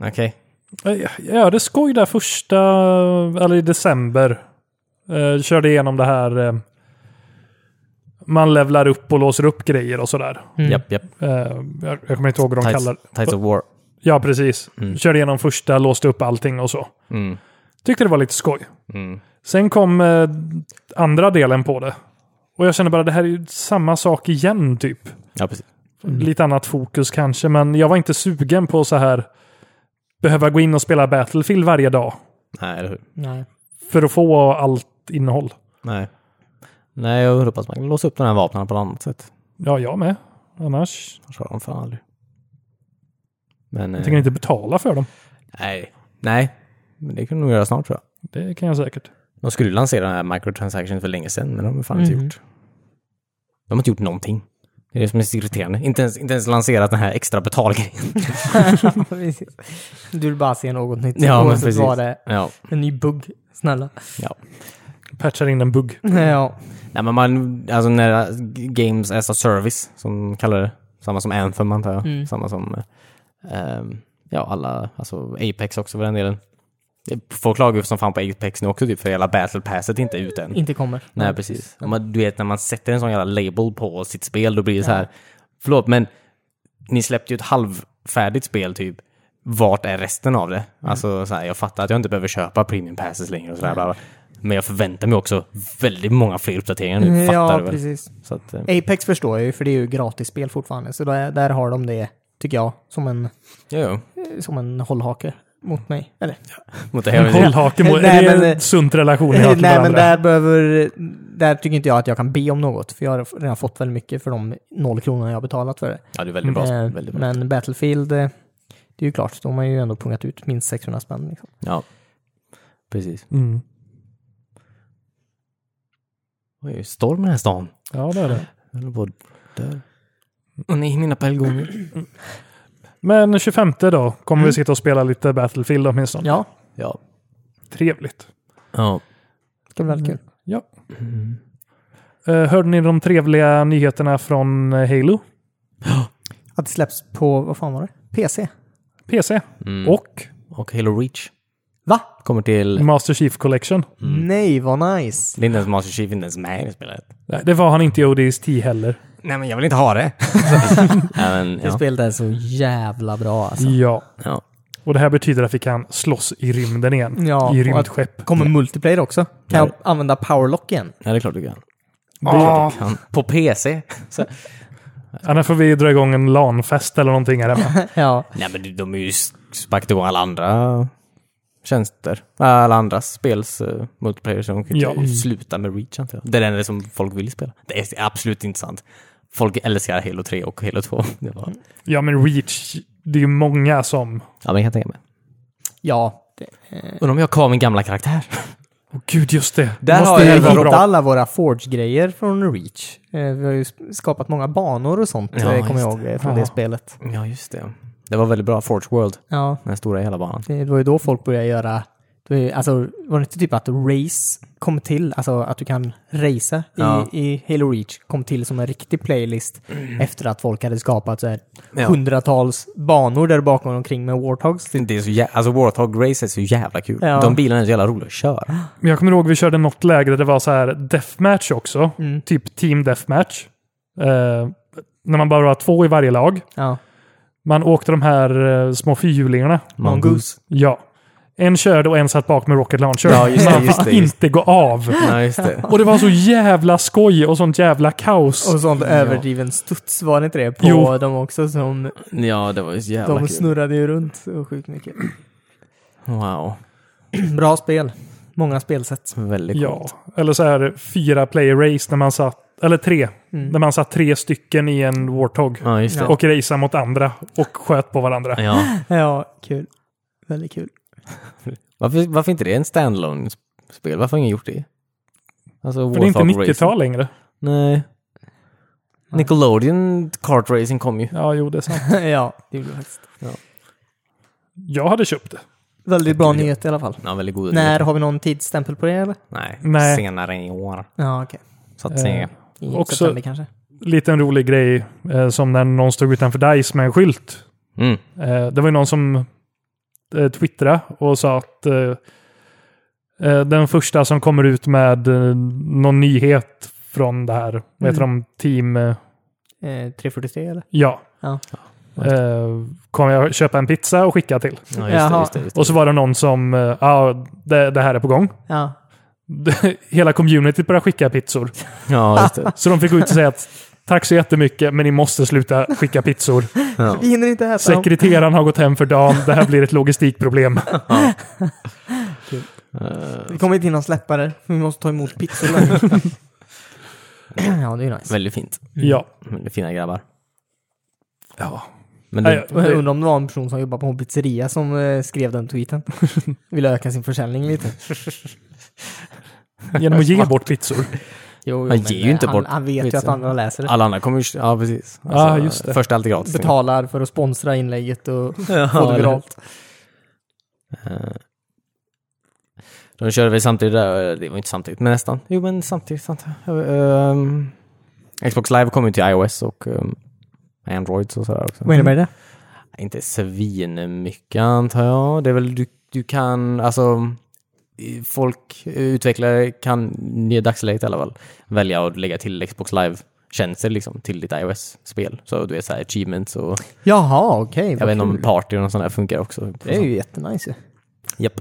Speaker 1: Okej.
Speaker 3: Jag jag hade skoj där första, eller i december. Eh, körde igenom det här. Eh, man levlar upp och låser upp grejer och sådär.
Speaker 2: Mm.
Speaker 1: Japp, japp.
Speaker 3: Eh, jag, jag kommer inte ihåg vad de kallar
Speaker 1: Tides, Tides of War.
Speaker 3: Ja, precis.
Speaker 1: Mm.
Speaker 3: Körde igenom första, låste upp allting och så.
Speaker 1: Mm.
Speaker 3: Tyckte det var lite skoj.
Speaker 1: Mm.
Speaker 3: Sen kom eh, andra delen på det. Och jag kände bara det här är ju samma sak igen typ.
Speaker 1: Ja, precis.
Speaker 2: Mm.
Speaker 3: Lite annat fokus kanske, men jag var inte sugen på så här behöva gå in och spela Battlefield varje dag
Speaker 1: Nej, eller hur?
Speaker 2: Nej.
Speaker 3: för att få allt innehåll.
Speaker 1: Nej. Nej, jag hoppas man kan låsa upp de här vapnen på något annat sätt.
Speaker 3: Ja, jag med. Annars
Speaker 1: Annars har de fan aldrig. Men... eh,
Speaker 3: jag tänker inte betala för dem.
Speaker 1: Nej. Nej. Men det kan de nog göra snart tror jag.
Speaker 3: Det kan jag säkert.
Speaker 1: De skulle lansera den här microtransaction för länge sedan, men de har fan inte
Speaker 2: Mhm.
Speaker 1: gjort. De har inte gjort någonting. Det är det som är så irriterande. Inte ens, inte ens lanserat den här extra betalgrejen.
Speaker 2: Precis. du vill bara se något nytt.
Speaker 1: Ja, men
Speaker 2: Oavsett
Speaker 1: precis.
Speaker 2: vad det är.
Speaker 1: Ja,
Speaker 2: En ny bugg. Snälla.
Speaker 1: ja.
Speaker 3: Patchar in en bugg.
Speaker 2: Ja.
Speaker 1: Nej, men man, alltså när Games as a Service, som de kallar det. Samma som Anthem antar jag.
Speaker 2: Mm.
Speaker 1: Samma som, eh, ehm, ja alla, alltså Apex också för den delen. Folk klagar ju som fan på Apex nu också typ, för hela Battle Passet inte är ute än.
Speaker 2: Inte kommer.
Speaker 1: Nej, precis. Om Man, du vet, när man sätter en sån jävla label på sitt spel, då blir det så här. Förlåt, men ni släppte ju ett halvfärdigt spel typ. Vart är resten av det?
Speaker 2: Mm.
Speaker 1: Alltså, så här, jag fattar att jag inte behöver köpa premium passes längre och sådär. bla, bla. Men jag förväntar mig också väldigt många fler uppdateringar nu. Fattar
Speaker 2: Mm, Ja,
Speaker 1: du väl?
Speaker 2: precis.
Speaker 1: Så att, eh,
Speaker 2: Apex förstår jag ju, för det är ju gratisspel fortfarande. Så där, där har de det, tycker jag, som en,
Speaker 1: jo, jo.
Speaker 2: som en hållhake mot mig. Eller?
Speaker 1: Mot det här.
Speaker 3: Hållhake mot...
Speaker 2: Nej,
Speaker 3: är det
Speaker 2: men- eh,
Speaker 3: en sunt relation ni har
Speaker 2: Nej,
Speaker 3: till
Speaker 2: men
Speaker 3: varandra?
Speaker 2: där behöver... Där tycker inte jag att jag kan be om något, för jag har redan fått väldigt mycket för de noll kronorna jag har betalat för det.
Speaker 1: Ja, det är väldigt bra.
Speaker 2: Eh,
Speaker 1: väldigt bra.
Speaker 2: men Battlefield, eh, det är ju klart, de har ju ändå pungat ut minst 600 spänn. Liksom.
Speaker 1: Ja, precis.
Speaker 3: Mm.
Speaker 1: Oj, det är storm i den här stan.
Speaker 3: Ja, det är det.
Speaker 1: Jag håller på att dö. Åh nej, mina pelgonger.
Speaker 3: Men 25 då kommer vi sitta och spela lite Battlefield åtminstone.
Speaker 2: Mm. Ja,
Speaker 1: Ja.
Speaker 3: Trevligt.
Speaker 1: Ja.
Speaker 2: det ska bli
Speaker 1: Mm.
Speaker 2: väldigt kul.
Speaker 3: Ja.
Speaker 2: Mm.
Speaker 3: Eh, hörde ni de trevliga nyheterna från eh, Halo?
Speaker 2: Att det släpps på, vad fan var det? PC?
Speaker 3: PC
Speaker 1: Mm.
Speaker 3: och
Speaker 1: Och Halo Reach
Speaker 2: Va?
Speaker 1: kommer till...
Speaker 3: Master Chief Collection.
Speaker 2: Nej, vad nice!
Speaker 1: Det är inte ens Master Chief inte ens med i det spelet.
Speaker 3: Nej, det var han inte i ODST heller.
Speaker 1: Nej men jag vill inte ha det. Nej, men,
Speaker 2: Det
Speaker 1: ja.
Speaker 2: spelet är så jävla bra alltså.
Speaker 3: Ja.
Speaker 1: Ja.
Speaker 3: Och det här betyder att vi kan slåss i rymden igen.
Speaker 2: Ja,
Speaker 3: I
Speaker 2: och att-
Speaker 3: rymdskepp.
Speaker 2: Kommer multiplayer också? Kan jag använda powerlock igen?
Speaker 1: ja, det är klart du kan.
Speaker 3: Ah.
Speaker 1: Kan. På PC. Så.
Speaker 3: Annars får vi dra igång en LAN-fest eller någonting här hemma.
Speaker 2: Ja.
Speaker 1: Nej men de är ju sparkat igång alla andra tjänster. Alla andra spels eh, multiplayer som kan
Speaker 3: Ja.
Speaker 1: ja. sluta med Reach antar jag. Det är det enda som folk vill spela. Det är absolut inte sant. Folk älskar Halo 3 och Halo 2. Det var...
Speaker 3: Ja, men Reach. Det är ju många som...
Speaker 1: Mm. Ja men jag kan tänka mig.
Speaker 2: Ja.
Speaker 1: Undrar om jag har kvar min gamla karaktär.
Speaker 3: Åh gud, just det. Det
Speaker 2: Där
Speaker 3: måste
Speaker 2: har
Speaker 3: ju
Speaker 2: jag
Speaker 3: vara
Speaker 2: hittat
Speaker 3: bra.
Speaker 2: alla våra Forge-grejer från Reach. Eh, Vi har ju skapat många banor och sånt,
Speaker 1: Ja,
Speaker 2: eh, kommer jag
Speaker 1: just
Speaker 2: ihåg, eh, från
Speaker 3: Ja.
Speaker 2: det spelet.
Speaker 1: Ja just det. Det var väldigt bra. Forge World.
Speaker 2: Ja.
Speaker 1: Den stora hela banan.
Speaker 2: Det var ju då folk började göra, det var ju- alltså var det inte typ att race kom till, alltså att du kan racea i,
Speaker 1: Ja. Mm.
Speaker 2: i Halo Reach, kom till som en riktig playlist efter att folk hade skapat så här
Speaker 1: Ja.
Speaker 2: hundratals banor där bakom och omkring med Warthogs.
Speaker 1: Det är så jä- alltså Warthog Race är så jävla kul.
Speaker 2: Ja.
Speaker 1: De bilarna är så jävla roliga att köra.
Speaker 3: Men jag kommer ihåg vi körde något läge där det var så här deathmatch också.
Speaker 2: Mm.
Speaker 3: Typ team deathmatch. Eh, när man bara var två i varje lag.
Speaker 2: Ja.
Speaker 3: Man åkte de här eh, små fyrhjulingarna.
Speaker 2: Mongoose.
Speaker 3: Ja. En körde och en satt bak med rocket launcher.
Speaker 1: Ja, just det,
Speaker 3: Man
Speaker 1: just
Speaker 3: fick
Speaker 1: det, just
Speaker 3: inte gå av.
Speaker 1: Nej, just det.
Speaker 3: Och det var så jävla skoj och sånt jävla kaos.
Speaker 2: Och sånt överdriven studs, var det inte det? På
Speaker 3: Jo.
Speaker 2: dem också som...
Speaker 1: Ja, det var ju så jävla
Speaker 2: De
Speaker 1: kul.
Speaker 2: snurrade ju runt så sjukt mycket.
Speaker 1: Wow.
Speaker 2: Bra spel. Många spelsätt.
Speaker 1: Väldigt coolt.
Speaker 3: Ja, eller så här fyra player race när man satt, eller tre,
Speaker 2: Mm.
Speaker 3: när man satt tre stycken i en Warthog
Speaker 1: Ja, just det.
Speaker 3: och raceade mot andra och sköt på varandra.
Speaker 1: Ja.
Speaker 2: Ja, kul. Väldigt kul.
Speaker 1: Varför, varför inte det en standalone spel Varför har ingen gjort det? Alltså,
Speaker 3: För det är inte
Speaker 1: Warthog Racing.
Speaker 3: 90-tal längre.
Speaker 1: Nej. Nickelodeon kart racing kom ju.
Speaker 3: Ja, jo, det är sant.
Speaker 2: ja, det gjorde det faktiskt.
Speaker 3: Jag hade köpt det.
Speaker 2: Väldigt bra nyhet i alla fall.
Speaker 1: Ja, väldigt goda
Speaker 2: När
Speaker 1: nyheter.
Speaker 2: har vi någon tidsstämpel på det eller?
Speaker 1: Nej.
Speaker 3: Nej.
Speaker 1: senare i år.
Speaker 2: Ja, okej.
Speaker 1: Så att säga.
Speaker 3: Eh.
Speaker 2: I
Speaker 3: Också-
Speaker 2: september kanske?
Speaker 3: Liten rolig grej eh, som när någon stod utanför DICE med en skylt.
Speaker 1: Mm.
Speaker 3: Eh, det var ju någon som eh, twittrade och sa att eh, eh, den första som kommer ut med eh, någon nyhet från det här, vad heter de, team... Eh,
Speaker 2: Eh, 343 eller?
Speaker 3: Ja.
Speaker 2: Ja.
Speaker 3: Eh, kommer jag köpa en pizza och skicka till.
Speaker 1: Ja, just det,
Speaker 2: Jaha.
Speaker 1: just det, just det.
Speaker 3: Och så var det någon som, eh, ja, det, det här är på gång.
Speaker 2: Ja.
Speaker 3: Hela communityt började skicka pizzor.
Speaker 1: Ja, just det.
Speaker 3: Så de fick gå ut och säga att tack så jättemycket, men ni måste sluta skicka pizzor.
Speaker 1: Ja.
Speaker 2: Vi hinner inte äta dem.
Speaker 3: Sekreteraren har gått hem för dagen, det här blir ett logistikproblem.
Speaker 1: Eh,
Speaker 2: Vi kommer inte hinna släppa det. för Vi måste ta emot pizzor. ja, det är ju nice.
Speaker 1: väldigt fint.
Speaker 3: Ja.
Speaker 1: Väldigt Mm, fina grabbar.
Speaker 3: ja.
Speaker 1: Men
Speaker 3: Nej,
Speaker 1: det,
Speaker 2: Och jag
Speaker 3: det-
Speaker 2: undrar om det var en person som jobbar på en pizzeria som eh, skrev den tweeten. Vill öka sin försäljning lite.
Speaker 3: Genom att ge bort pizzor.
Speaker 2: Jo, jo,
Speaker 1: Han
Speaker 2: men,
Speaker 1: ger ju
Speaker 2: eh,
Speaker 1: inte
Speaker 2: han,
Speaker 1: bort
Speaker 2: Han vet ju
Speaker 1: pizzan.
Speaker 2: att andra läser det.
Speaker 1: alla andra kommer ju... Ja, precis.
Speaker 3: Ja, just det.
Speaker 1: Först är alltid gratis.
Speaker 2: Betalar för att sponsra inlägget och
Speaker 1: Ja,
Speaker 2: få det
Speaker 1: eller-
Speaker 2: viralt.
Speaker 1: Eh, De körde väl samtidigt där, eh, det var inte samtidigt, men nästan. Jo men samtidigt, samtidigt. Eh, ehm, Xbox Live kom ju till iOS och um, Android och sådär också.
Speaker 2: Vad innebär det?
Speaker 1: Inte svin mycket antar jag. Det är väl du, du kan, alltså i- folk, eh, utvecklare kan i dagsläget i alla fall välja att lägga till Xbox Live-tjänster liksom till ditt iOS-spel. Så du vet såhär achievements och
Speaker 2: Jaha, okej.
Speaker 1: jag
Speaker 2: vad
Speaker 1: vet inte om
Speaker 2: kul.
Speaker 1: party och något sånt där funkar också.
Speaker 2: Det är ju jättenice ju.
Speaker 1: Japp.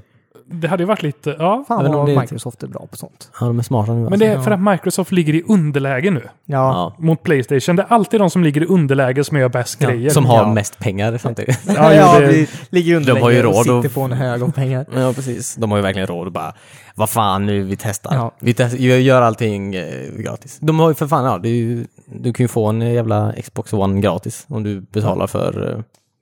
Speaker 3: Det hade ju varit lite, ja.
Speaker 1: Jag
Speaker 2: Fan
Speaker 1: vet
Speaker 2: vad
Speaker 1: inte om det är-
Speaker 2: Microsoft är bra på sånt.
Speaker 1: Alltså, Ja, de är smarta nu
Speaker 3: Men det är för att Microsoft ligger i underläge nu
Speaker 2: Ja.
Speaker 1: Ja.
Speaker 3: mot Playstation. Det är alltid de som ligger i underläge som gör bäst grejer.
Speaker 1: Som har
Speaker 2: Ja.
Speaker 1: mest pengar samtidigt.
Speaker 3: Ja, jo, det-
Speaker 2: vi ligger under
Speaker 1: De har ju
Speaker 2: och
Speaker 1: råd
Speaker 2: sitter
Speaker 1: att-
Speaker 2: på en hög av pengar.
Speaker 1: Ja, precis. De har ju verkligen råd att bara, vad fan nu, vi testar.
Speaker 2: Ja.
Speaker 1: Vi test, gör- gör allting eh, gratis. De har ju för fan, ja, det är ju, du kan ju få en jävla Xbox One gratis om du betalar för eh,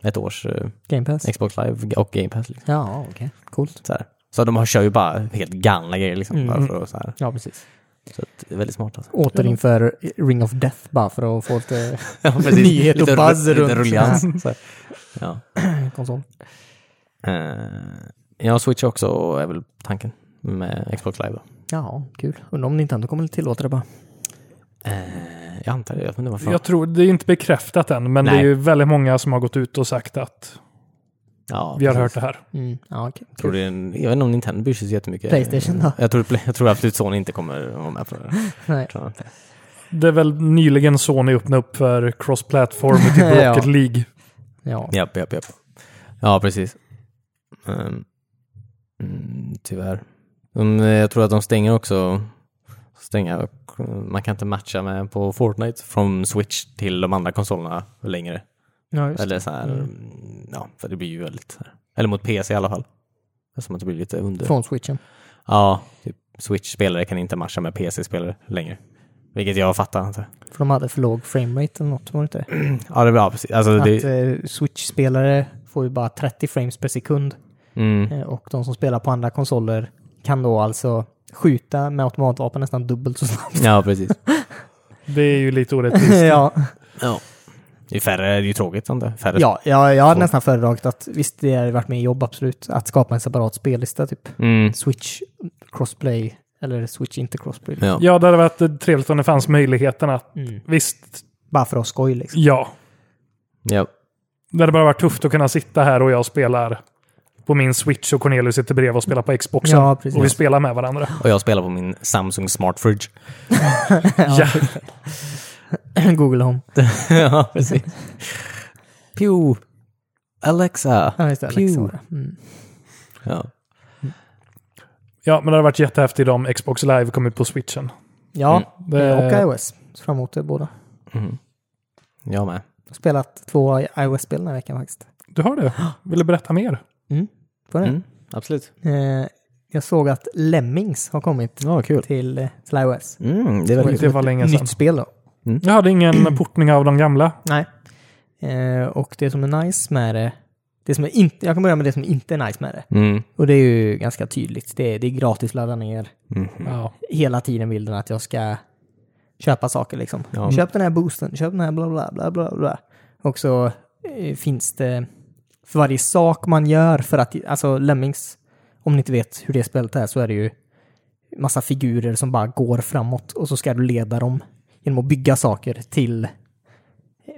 Speaker 1: ett års eh,
Speaker 2: Game Pass.
Speaker 1: Xbox Live och Game Pass. Liksom.
Speaker 2: Ja, okej. Coolt.
Speaker 1: Så, här. så de har, kör ju bara helt galna grejer liksom. Bara för att, så här.
Speaker 2: Ja, precis.
Speaker 1: så att, det är väldigt smart alltså.
Speaker 2: Återinför Ring of Death bara för att få lite
Speaker 1: Ja, precis.
Speaker 2: Nyhet och
Speaker 1: Lite
Speaker 2: buzz
Speaker 1: ru- lite
Speaker 2: runt.
Speaker 1: rullians, så här. Ja.
Speaker 2: konsol.
Speaker 1: Eh, ja, Switch också är väl tanken med Xbox Live. då.
Speaker 2: Ja, kul. Undrar om Nintendo kommer tillåta det bara.
Speaker 1: Eh, jag antar det, jag vet inte varför.
Speaker 3: Jag tror, det är inte bekräftat än, men det
Speaker 1: Nej.
Speaker 3: är ju väldigt många som har gått ut och sagt att
Speaker 1: ja,
Speaker 3: vi har
Speaker 1: precis.
Speaker 3: hört det här.
Speaker 2: Mm. Ja, okej.
Speaker 1: Jag tror det är en, jag vet inte om Nintendo bryr sig så jättemycket.
Speaker 2: Playstation då?
Speaker 1: Jag tror, Play- jag tror absolut Sony inte kommer vara med på det.
Speaker 2: Nej.
Speaker 1: Tror jag inte.
Speaker 3: Det är väl nyligen Sony öppnade upp för cross-platform och typ
Speaker 2: Ja.
Speaker 3: Rocket League.
Speaker 2: Ja.
Speaker 1: Japp, japp, japp. Ja, precis. Ehm, mm, tyvärr. De, eh, jag tror att de stänger också. Stänga, man kan inte matcha med på Fortnite från Switch till de andra konsolerna längre.
Speaker 2: ja just.
Speaker 1: Eller så här, mm, ja, för det blir ju väldigt så här. Eller mot PC i alla fall. Som att det blir lite under.
Speaker 2: Från switchen.
Speaker 1: Ja, typ Switch-spelare kan inte matcha med PC-spelare längre. Vilket jag fattar inte.
Speaker 2: För de hade för låg framerate eller något, var det inte det?
Speaker 1: Ja, det, ja precis. Alltså,
Speaker 2: Att
Speaker 1: det,
Speaker 2: eh, switch-spelare får ju bara 30 frames per sekund
Speaker 1: mm,
Speaker 2: eh, och de som spelar på andra konsoler kan då alltså skjuta med automatvapen nästan dubbelt så snabbt.
Speaker 1: ja, precis.
Speaker 3: Det är ju lite orättvist.
Speaker 2: ja.
Speaker 1: ja. Det är färre, det är ju tråkigt sånt där. Färre.
Speaker 2: Ja, ja, jag hade
Speaker 1: Så.
Speaker 2: nästan föredragit att, visst det hade varit med i jobb absolut, att skapa en separat spellista typ.
Speaker 1: Mm,
Speaker 2: Switch crossplay eller Switch inte crossplay.
Speaker 1: ja.
Speaker 3: Ja, det hade varit trevligt om det fanns möjligheten att...
Speaker 2: Mm.
Speaker 3: Visst,
Speaker 2: Bara för att ha skoj liksom.
Speaker 3: ja.
Speaker 1: ja.
Speaker 3: Det hade bara varit tufft att kunna sitta här och jag spelar på min Switch och Cornelius sitter bredvid och spelar på Xboxen.
Speaker 2: Ja, precis.
Speaker 3: och vi spelar med varandra.
Speaker 1: Och jag spelar på min Samsung Smart Fridge.
Speaker 3: Ja.
Speaker 2: Google Home.
Speaker 1: ja, precis. Pew. Alexa.
Speaker 2: Ja, just det.
Speaker 1: Pew.
Speaker 2: Alexa. var det. Mm.
Speaker 1: Ja.
Speaker 3: Ja, men det hade varit jättehäftigt om Xbox Live kom ut på switchen.
Speaker 2: Ja,
Speaker 3: Det-
Speaker 2: och iOS. Så fram emot det båda.
Speaker 1: Mm. Jag med.
Speaker 2: Jag har spelat två iOS-spel den här veckan faktiskt.
Speaker 3: Du har det? Vill du berätta mer?
Speaker 2: Var det?
Speaker 1: Mm, absolut.
Speaker 2: Eh, jag såg att Lemmings har kommit
Speaker 1: Ja, kul.
Speaker 2: till, eh, till iOS.
Speaker 1: Mm, det är väldigt
Speaker 3: Det
Speaker 1: kul.
Speaker 3: var länge sedan.
Speaker 2: Nytt spel då.
Speaker 3: Jag hade ingen portning av de gamla.
Speaker 2: Nej. Eh, och det som är nice med det, det som är inte, jag kan börja med det som inte är nice med det.
Speaker 1: Mm.
Speaker 2: Och det är ju ganska tydligt. Det är, det är gratis att ladda ner
Speaker 1: Mm.
Speaker 3: Ja.
Speaker 2: hela tiden bilden att jag ska köpa saker liksom.
Speaker 1: Ja.
Speaker 2: Köp den här boosten, köp den här bla bla bla bla bla. Och så eh, finns det för varje sak man gör för att, alltså Lemmings, om ni inte vet hur det spelet är så är det ju massa figurer som bara går framåt och så ska du leda dem genom att bygga saker till,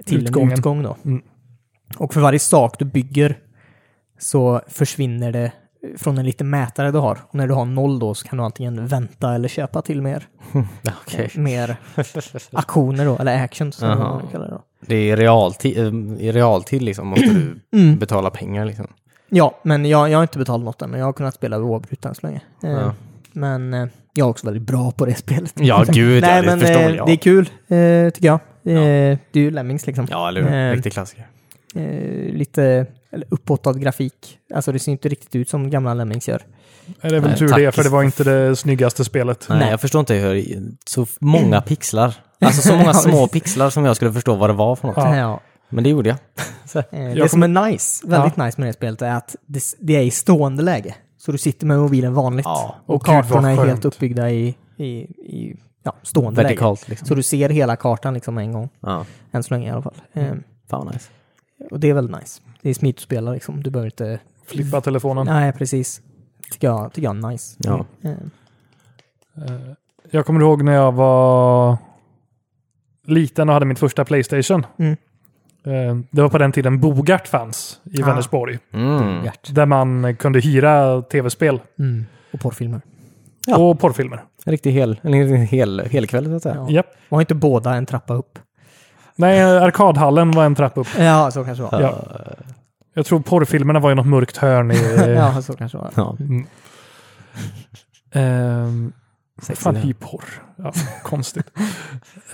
Speaker 2: till en
Speaker 3: Utgången.
Speaker 2: utgång då.
Speaker 3: Mm.
Speaker 2: Och för varje sak du bygger så försvinner det från en liten mätare du har. Och när du har noll då så kan du antingen vänta eller köpa till mer,
Speaker 1: Okej.
Speaker 2: Eh, mer aktioner då, eller actions som
Speaker 1: Jaha.
Speaker 2: man kallar det då.
Speaker 1: Det är i realtid, eh, i realtid liksom, måste du
Speaker 2: Mm.
Speaker 1: betala pengar liksom.
Speaker 2: Ja, men jag, jag har inte betalat något än, men jag har kunnat spela oavbrutet än så länge. Eh,
Speaker 1: Ja.
Speaker 2: Men eh, jag är också väldigt bra på det spelet.
Speaker 1: Ja, gud, ja,
Speaker 2: Nej,
Speaker 1: det
Speaker 2: men
Speaker 1: förstår väl
Speaker 2: eh,
Speaker 1: jag.
Speaker 2: det är kul, eh, tycker jag. Eh, det är ju Lemmings liksom.
Speaker 1: Ja, eller hur?
Speaker 2: Eh,
Speaker 1: Riktig klassiker.
Speaker 2: Eh, lite eller uppåtad grafik. Alltså det ser inte riktigt ut som gamla Lemmings gör.
Speaker 3: Det är väl
Speaker 1: Nej,
Speaker 3: tur
Speaker 1: tack.
Speaker 3: det, för det var inte det snyggaste spelet.
Speaker 1: Nej,
Speaker 2: nej.
Speaker 1: jag förstår inte hur... Så f- många pixlar. Alltså så många
Speaker 2: Ja,
Speaker 1: små
Speaker 2: visst.
Speaker 1: pixlar som jag skulle förstå vad det var för något.
Speaker 3: Ja.
Speaker 2: Ja.
Speaker 1: Men det gjorde jag.
Speaker 2: Eh,
Speaker 3: Jag
Speaker 2: Det som är nice, väldigt nice med det här spelet är att det, det är i stående läge. Så du sitter med mobilen vanligt.
Speaker 1: Ja,
Speaker 2: Och,
Speaker 3: och gud, vad
Speaker 2: kartorna är helt
Speaker 3: skönt.
Speaker 2: uppbyggda i, i, i ja, stående läge.
Speaker 1: Vertikalt liksom.
Speaker 2: Så du ser hela kartan liksom en gång.
Speaker 1: Ja.
Speaker 2: Än så länge i alla fall. Eh,
Speaker 1: Fan vad nice.
Speaker 2: Och det är väldigt nice. Det är smidigt att spela liksom. Du behöver inte...
Speaker 3: Flippa telefonen.
Speaker 2: Nej, precis. Tycker jag, tycker jag är nice.
Speaker 1: Ja.
Speaker 2: Eh,
Speaker 3: Eh, Jag kommer ihåg när jag var liten och hade mitt första Playstation.
Speaker 2: Mm.
Speaker 3: Eh, Det var på den tiden Bogart fanns i
Speaker 2: Ah.
Speaker 3: Vänersborg.
Speaker 1: Mm.
Speaker 2: Hjärt.
Speaker 3: Där man kunde hyra tv-spel
Speaker 2: Mm. Och porrfilmer.
Speaker 1: Ja.
Speaker 3: och porrfilmer.
Speaker 1: En riktig hel, en hel, hel, hel kväll så att säga.
Speaker 2: Ja.
Speaker 3: Japp.
Speaker 2: Var inte båda en trappa upp?
Speaker 3: Nej, arkadhallen var en trappa upp.
Speaker 2: Ja, så kanske det var.
Speaker 3: Ja. Jag tror porrfilmerna var i något mörkt hörn. I,
Speaker 2: Ja, så kanske det var.
Speaker 1: Ja.
Speaker 3: Ehm,
Speaker 1: Sex
Speaker 3: fan,
Speaker 1: eller-
Speaker 3: hyporr. Ja, konstigt.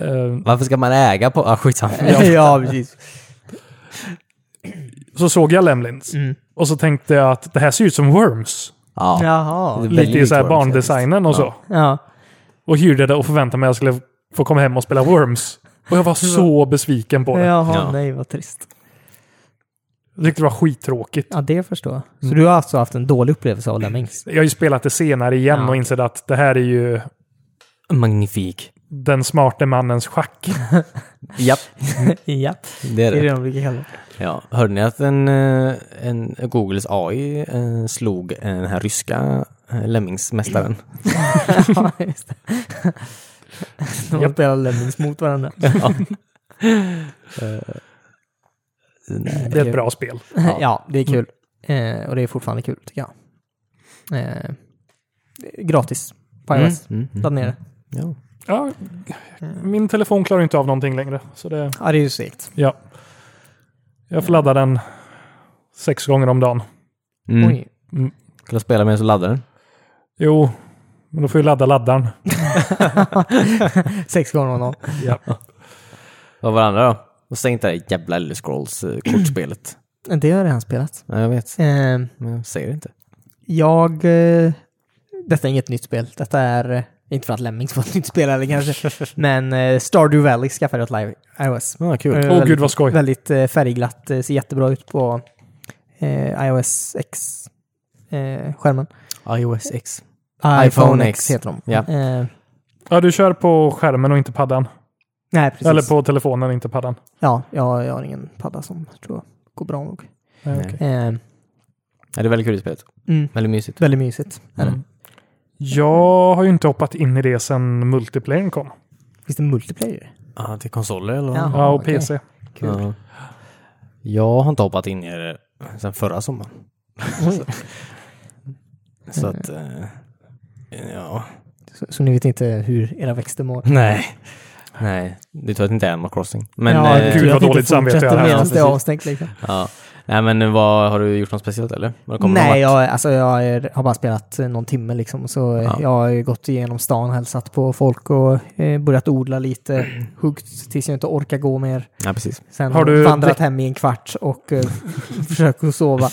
Speaker 3: Ehm,
Speaker 1: Varför ska man äga på... Ah, skitsamma.
Speaker 2: ja, precis.
Speaker 3: så såg jag Lemlins
Speaker 2: Mm.
Speaker 3: och så tänkte jag att det här ser ut som Worms.
Speaker 1: Ja.
Speaker 2: Jaha.
Speaker 1: Väldigt
Speaker 3: Lite i så här
Speaker 1: likt Worms,
Speaker 3: barndesignen och så.
Speaker 2: Ja.
Speaker 3: Och hyrde det och förväntade mig att jag skulle få komma hem och spela Worms. Och jag var så besviken på det.
Speaker 2: Jaha,
Speaker 1: Ja.
Speaker 2: nej vad trist.
Speaker 3: Jag tyckte det var skittråkigt.
Speaker 2: Ja, det förstår jag. Så du har alltså haft en dålig upplevelse av Lemmings?
Speaker 3: Jag har ju spelat det senare igen
Speaker 2: Ja.
Speaker 3: och insett att det här är ju
Speaker 1: Magnifik.
Speaker 3: den smarte mannens schack.
Speaker 1: Japp,
Speaker 2: ja,
Speaker 1: det är
Speaker 2: det är det
Speaker 1: det.
Speaker 2: de brukar kalla det.
Speaker 1: Ja. Hörde ni att en, eh, en Googles AI eh, slog eh, den här ryska eh, Lemmingsmästaren?
Speaker 2: ja, just det. De har spelat Lemmings mot varandra.
Speaker 1: Ja. Eh, nej.
Speaker 3: Det är ett bra spel.
Speaker 2: Ja, det
Speaker 1: Mm.
Speaker 2: är kul. Eh, och det är fortfarande kul, tycker jag. Eh, gratis. På
Speaker 1: Mm.
Speaker 2: iOS.
Speaker 1: Mm.
Speaker 2: Ladda ner det.
Speaker 1: Ja.
Speaker 3: Ja, min telefon klarar ju inte av någonting längre. Så det,
Speaker 2: Ja, det är ju segt.
Speaker 3: ja. Jag får ladda den sex gånger om dagen.
Speaker 1: Mm.
Speaker 2: Oj.
Speaker 1: Kan du spela med så laddar den?
Speaker 3: Jo, men då får jag ladda laddaren.
Speaker 2: Sex gånger om dagen.
Speaker 3: Ja.
Speaker 1: Vad var det andra då? Och stäng inte det där jävla Elder Scrolls eh, kortspelet.
Speaker 2: Det har jag redan spelat.
Speaker 1: Nej, jag vet,
Speaker 2: Eh,
Speaker 1: men jag säger det inte.
Speaker 2: Jag... eh, Detta är inget nytt spel. Detta är... eh, Inte för att Lemmings var ett nytt spel eller kanske. Men eh, Stardew Valley skaffade jag till live iOS.
Speaker 1: Ja, kul.
Speaker 2: Eh,
Speaker 3: Åh
Speaker 2: väldigt-
Speaker 3: gud vad skoj.
Speaker 2: Väldigt eh, färgglatt. eh, Ser jättebra ut på eh, iOS X-skärmen.
Speaker 1: iOS X.
Speaker 2: iPhone,
Speaker 1: iPhone
Speaker 2: X
Speaker 1: X.
Speaker 2: heter de.
Speaker 1: Ja.
Speaker 2: Eh,
Speaker 3: Ja, du kör på skärmen och inte paddan.
Speaker 2: nej, precis.
Speaker 3: Eller på telefonen, inte paddan.
Speaker 2: Ja, jag, jag har ingen padda som tror jag går bra nog.
Speaker 3: Nej,
Speaker 1: Nej.
Speaker 3: okej.
Speaker 2: Eh,
Speaker 1: Ja, det är väldigt kul i spelet.
Speaker 2: mm,
Speaker 1: Väldigt mysigt.
Speaker 2: väldigt mysigt. är det.
Speaker 3: Mm. Jag har ju inte hoppat in i det sedan multiplayern
Speaker 2: Ah,
Speaker 3: kom.
Speaker 2: Finns det multiplayer?
Speaker 1: Ja, till konsoler eller vad?
Speaker 2: Ja.
Speaker 3: Ja, och
Speaker 2: okej.
Speaker 3: PC.
Speaker 2: Kul.
Speaker 1: Ja. Jag har inte hoppat in i det sen förra sommaren. Så att... eh, Ja.
Speaker 2: Så, så ni vet inte hur era växter mår?
Speaker 1: Nej. Nej, det är tur att det inte är Animal Crossing. Men...
Speaker 2: ja,
Speaker 1: eh,
Speaker 3: gud, vad
Speaker 2: jag tänkte
Speaker 3: dåligt samvete jag
Speaker 2: fortsätta
Speaker 3: hade.
Speaker 2: medan
Speaker 1: Ja,
Speaker 2: det är
Speaker 1: precis.
Speaker 2: avstängt liksom.
Speaker 1: ja. Nej men vad, har du gjort något speciellt eller? Har du kommit någon
Speaker 2: Nej,
Speaker 1: vart?
Speaker 2: jag, alltså, jag är, har bara spelat eh, någon timme liksom. Så eh,
Speaker 1: Ja.
Speaker 2: jag har ju gått igenom stan, hälsat på folk och eh, börjat odla lite. Huggt tills jag inte orkar gå mer.
Speaker 1: Ja, precis.
Speaker 2: Sen
Speaker 3: Har
Speaker 2: har
Speaker 3: du
Speaker 2: du vandrat
Speaker 3: däck-
Speaker 2: hem i en kvart och eh, försökt att sova.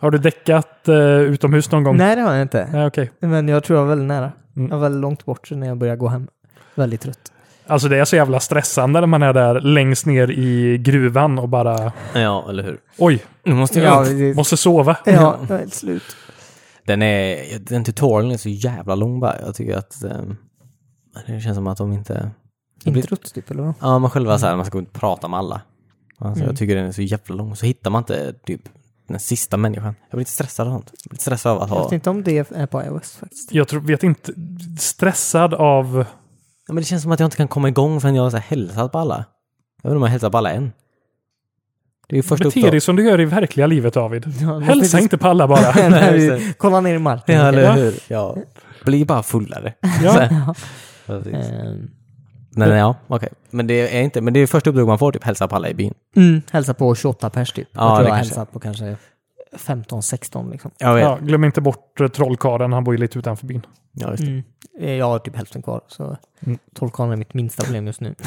Speaker 3: Har du däckat eh, utomhus någon gång?
Speaker 2: Nej, det har jag inte.
Speaker 3: Nej, okej.
Speaker 2: Men jag tror jag var väldigt nära.
Speaker 3: Mm.
Speaker 2: Jag var väldigt långt bort när jag började gå hem. Väldigt trött.
Speaker 3: Alltså det är så jävla stressande när man är där längst ner i gruvan och bara
Speaker 1: Ja, eller hur.
Speaker 3: oj,
Speaker 1: Nu måste jag...
Speaker 2: Ja, det,
Speaker 3: måste sova.
Speaker 2: ja, jag är helt slut.
Speaker 1: Den, är, den tutorialen är så jävla lång bara. Jag tycker att... ehm, det känns som att de inte... Det blir-
Speaker 2: Introt typ, eller vad?
Speaker 1: Ja, man själva så här, man ska gå och prata med alla. Alltså,
Speaker 2: Mm.
Speaker 1: Jag tycker den är så jävla lång. Så hittar man inte typ den sista människan. Jag blir inte stressad av sånt. Jag blir stressad av att
Speaker 2: Jag
Speaker 1: ha...
Speaker 2: vet inte om det är på iOS faktiskt.
Speaker 3: Jag tror, vet inte, stressad av...
Speaker 1: Ja, men det känns som att jag inte kan komma igång förrän jag har så här hälsat på alla. Jag vet inte om jag har hälsat på alla än. Det är ju första
Speaker 3: Bete dig
Speaker 1: uppdraget.
Speaker 3: som du gör i verkliga livet David.
Speaker 2: Ja,
Speaker 3: Hälsa inte på alla bara.
Speaker 2: Nej,
Speaker 1: just
Speaker 2: vi- Kolla ner i marken.
Speaker 1: Ja, eller
Speaker 3: Ja.
Speaker 1: hur? Ja. Blir bara fullare. Så
Speaker 3: Ja.
Speaker 1: här. Precis.
Speaker 2: Eh,
Speaker 1: Nej, nej, ja, okej. Men det är inte, men det är första uppdraget man får, typ hälsa på alla i byn.
Speaker 2: Mm, hälsa på 28 pers typ.
Speaker 1: Ja,
Speaker 2: jag tror
Speaker 1: det
Speaker 2: jag
Speaker 1: kanske-
Speaker 2: hälsat på kanske 15-16 liksom.
Speaker 1: Jag vet.
Speaker 3: Ja, glöm inte bort eh, trollkarlen, han bor ju lite utanför byn.
Speaker 1: Ja, just det.
Speaker 2: Mm. Eh, Jag har typ hälften kvar, så
Speaker 3: Mm.
Speaker 2: trollkarlen är mitt minsta problem just nu.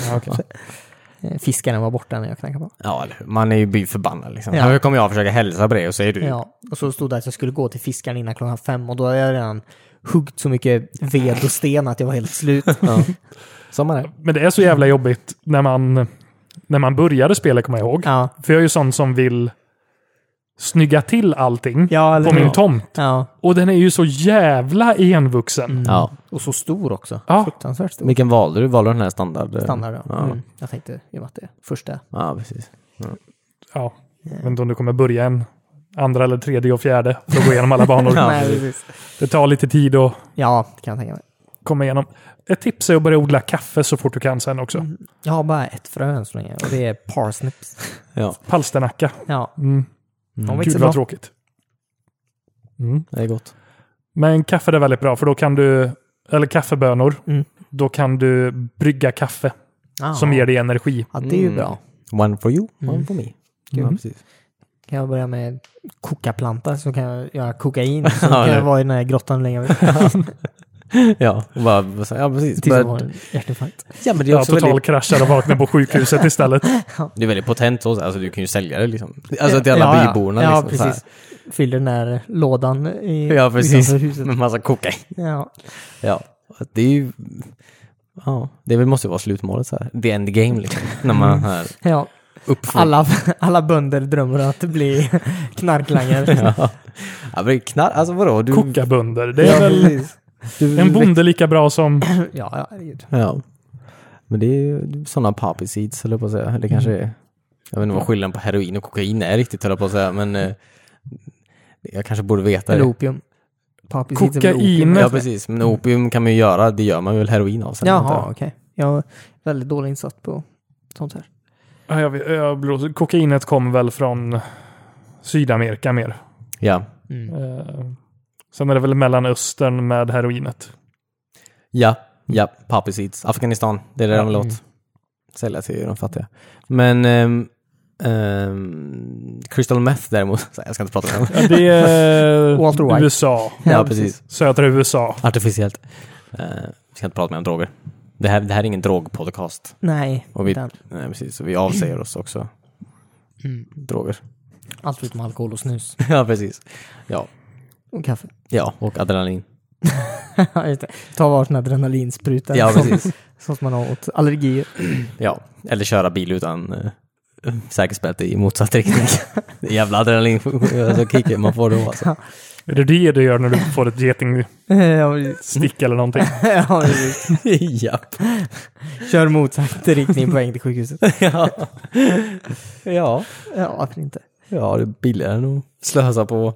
Speaker 2: Eh, Fiskaren var borta när jag knackade på.
Speaker 1: ja eller hur? Man är ju byförbannad liksom.
Speaker 2: Ja.
Speaker 1: Hur kommer jag försöka hälsa på dig och säger du?
Speaker 2: Ja, och så stod det att jag skulle gå till fiskaren innan klockan fem och då hade jag redan huggt så mycket ved och sten att jag var helt slut.
Speaker 1: Ja. Som man är.
Speaker 3: Men det är så jävla jobbigt när man, när man började spela, kommer jag ihåg.
Speaker 2: Ja,
Speaker 3: För jag är ju sån som vill snygga till allting
Speaker 2: ja eller
Speaker 3: på min
Speaker 2: ja.
Speaker 3: tomt.
Speaker 2: ja.
Speaker 3: Och den är ju så jävla
Speaker 2: Mm.
Speaker 3: envuxen.
Speaker 1: Ja.
Speaker 2: Och så stor också.
Speaker 3: Ja.
Speaker 2: Fruktansvärt stor.
Speaker 1: Vilken valde du? Valde du den här standard? eh?
Speaker 2: Standard, ja.
Speaker 1: Ja,
Speaker 2: Mm. Jag tänkte ju att det är första. eh,
Speaker 1: ja precis.
Speaker 3: Ja, jag vet inte om du kommer börja en andra eller tredje och fjärde för att gå igenom alla banor.
Speaker 1: Ja,
Speaker 2: Nej,
Speaker 1: precis.
Speaker 2: precis.
Speaker 3: Det tar lite tid att
Speaker 2: Ja, det kan jag tänka mig.
Speaker 3: komma igenom. Ett tips är att börja odla kaffe så fort du kan sen också.
Speaker 2: Jag har bara ett frö än så länge och det är parsnips.
Speaker 1: Ja,
Speaker 3: Palsternacka.
Speaker 2: Ja,
Speaker 3: Mm.
Speaker 2: de
Speaker 3: Gud
Speaker 2: växer
Speaker 3: vad
Speaker 2: bra.
Speaker 3: tråkigt. Mm.
Speaker 1: det är gott.
Speaker 3: Men kaffe är väldigt bra för då kan du, eller kaffebönor,
Speaker 2: Mm.
Speaker 3: då kan du brygga kaffe
Speaker 2: Ah,
Speaker 3: som ger dig energi.
Speaker 2: Ja, det är ju
Speaker 1: Mm.
Speaker 2: bra.
Speaker 1: One for you, one
Speaker 2: Mm.
Speaker 1: for me.
Speaker 3: Mm.
Speaker 1: Ja, precis.
Speaker 2: Kan jag börja med kokaplanta så kan jag göra kokain. Så
Speaker 1: Ja,
Speaker 2: kan
Speaker 1: det-
Speaker 2: jag vara i den här grottan hur länge jag vill.
Speaker 1: ja, och bara, så- ja, precis.
Speaker 2: Tills jag
Speaker 1: Bara-
Speaker 2: har en hjärtinfarkt.
Speaker 1: ja, men det är
Speaker 3: Jag
Speaker 1: också
Speaker 3: total
Speaker 1: väldigt,
Speaker 3: kraschar och vaknar på sjukhuset istället.
Speaker 1: det är väldigt potent. så- Alltså, du kan ju sälja det liksom. Alltså till alla
Speaker 2: Ja, ja.
Speaker 1: byborna.
Speaker 2: Ja,
Speaker 1: liksom, så här.
Speaker 2: precis. Fyller den där lådan i,
Speaker 1: Ja, precis.
Speaker 2: utanför huset.
Speaker 1: Med massa kokain.
Speaker 2: Ja.
Speaker 1: Ja, det är ju... Ja, det väl måste ju vara slutmålet så här. The end game liksom. När man här
Speaker 2: ja.
Speaker 1: uppför...
Speaker 2: Alla, alla bönder drömmer om att bli knarklangare.
Speaker 1: Ja. ja, men knar... Alltså vadå? Du...
Speaker 3: Kokabönder. Det är väl
Speaker 1: precis. Du...
Speaker 3: en bonde lika bra som...
Speaker 2: ja, ja, herregud.
Speaker 1: Ja. Men det är ju sådana poppy seeds, höll jag på att säga. Eller kanske är... Jag vet inte vad skillnaden på heroin och kokain är riktigt, höll jag på att säga. Men... eh, Jag kanske borde veta
Speaker 2: Eller
Speaker 1: det.
Speaker 2: opium. Pappi sitter väl i
Speaker 3: Kokain.
Speaker 1: Ja, precis. Men opium kan man ju göra. Det gör man väl heroin av sen. antar
Speaker 2: Jaha,
Speaker 1: jag.
Speaker 2: okej. Jag är väldigt dåligt insatt på sånt här.
Speaker 3: Ja, jag vet- jag blir- Kokainet kom väl från Sydamerika mer.
Speaker 1: Ja.
Speaker 2: Mm.
Speaker 3: Eh, Sen är det väl Mellanöstern med heroinet.
Speaker 1: Ja, ja, poppy seeds. Afghanistan, det är det de vill åt. Sälja till de fattiga. Men ehm, ehm, Crystal Meth däremot, så här, jag ska inte prata om det.
Speaker 3: Ja, Det är
Speaker 2: Walter White.
Speaker 3: USA.
Speaker 1: ja, precis.
Speaker 3: Södra USA.
Speaker 1: Artificiellt. Eh, vi ska inte prata mer om droger. Det här, det här är ingen drogpodcast.
Speaker 2: Nej,
Speaker 1: Och vi,
Speaker 2: inte än.
Speaker 1: nej, precis, så vi avsäger oss också Mm. droger.
Speaker 2: allt förutom alkohol och snus.
Speaker 1: ja, precis. Ja,
Speaker 2: Och kaffe.
Speaker 1: ja, och adrenalin.
Speaker 2: Just det. Ta varsin adrenalinspruta.
Speaker 1: Ja,
Speaker 2: sånt-
Speaker 1: precis.
Speaker 2: Sånt man har åt allergier.
Speaker 1: Ja, eller köra bil utan eh, säkerhetsbälte i motsatt riktning. Det är jävla adrenalin, alltså kicken man får då alltså.
Speaker 3: Är det det du gör när du får ett getingstick
Speaker 2: Ja, precis.
Speaker 3: eller någonting?
Speaker 2: Ja, precis.
Speaker 1: Japp.
Speaker 2: Kör motsatt riktning på väg till sjukhuset.
Speaker 1: ja. ja.
Speaker 2: Ja, varför inte?
Speaker 1: Ja, det är billigare än att slösa på.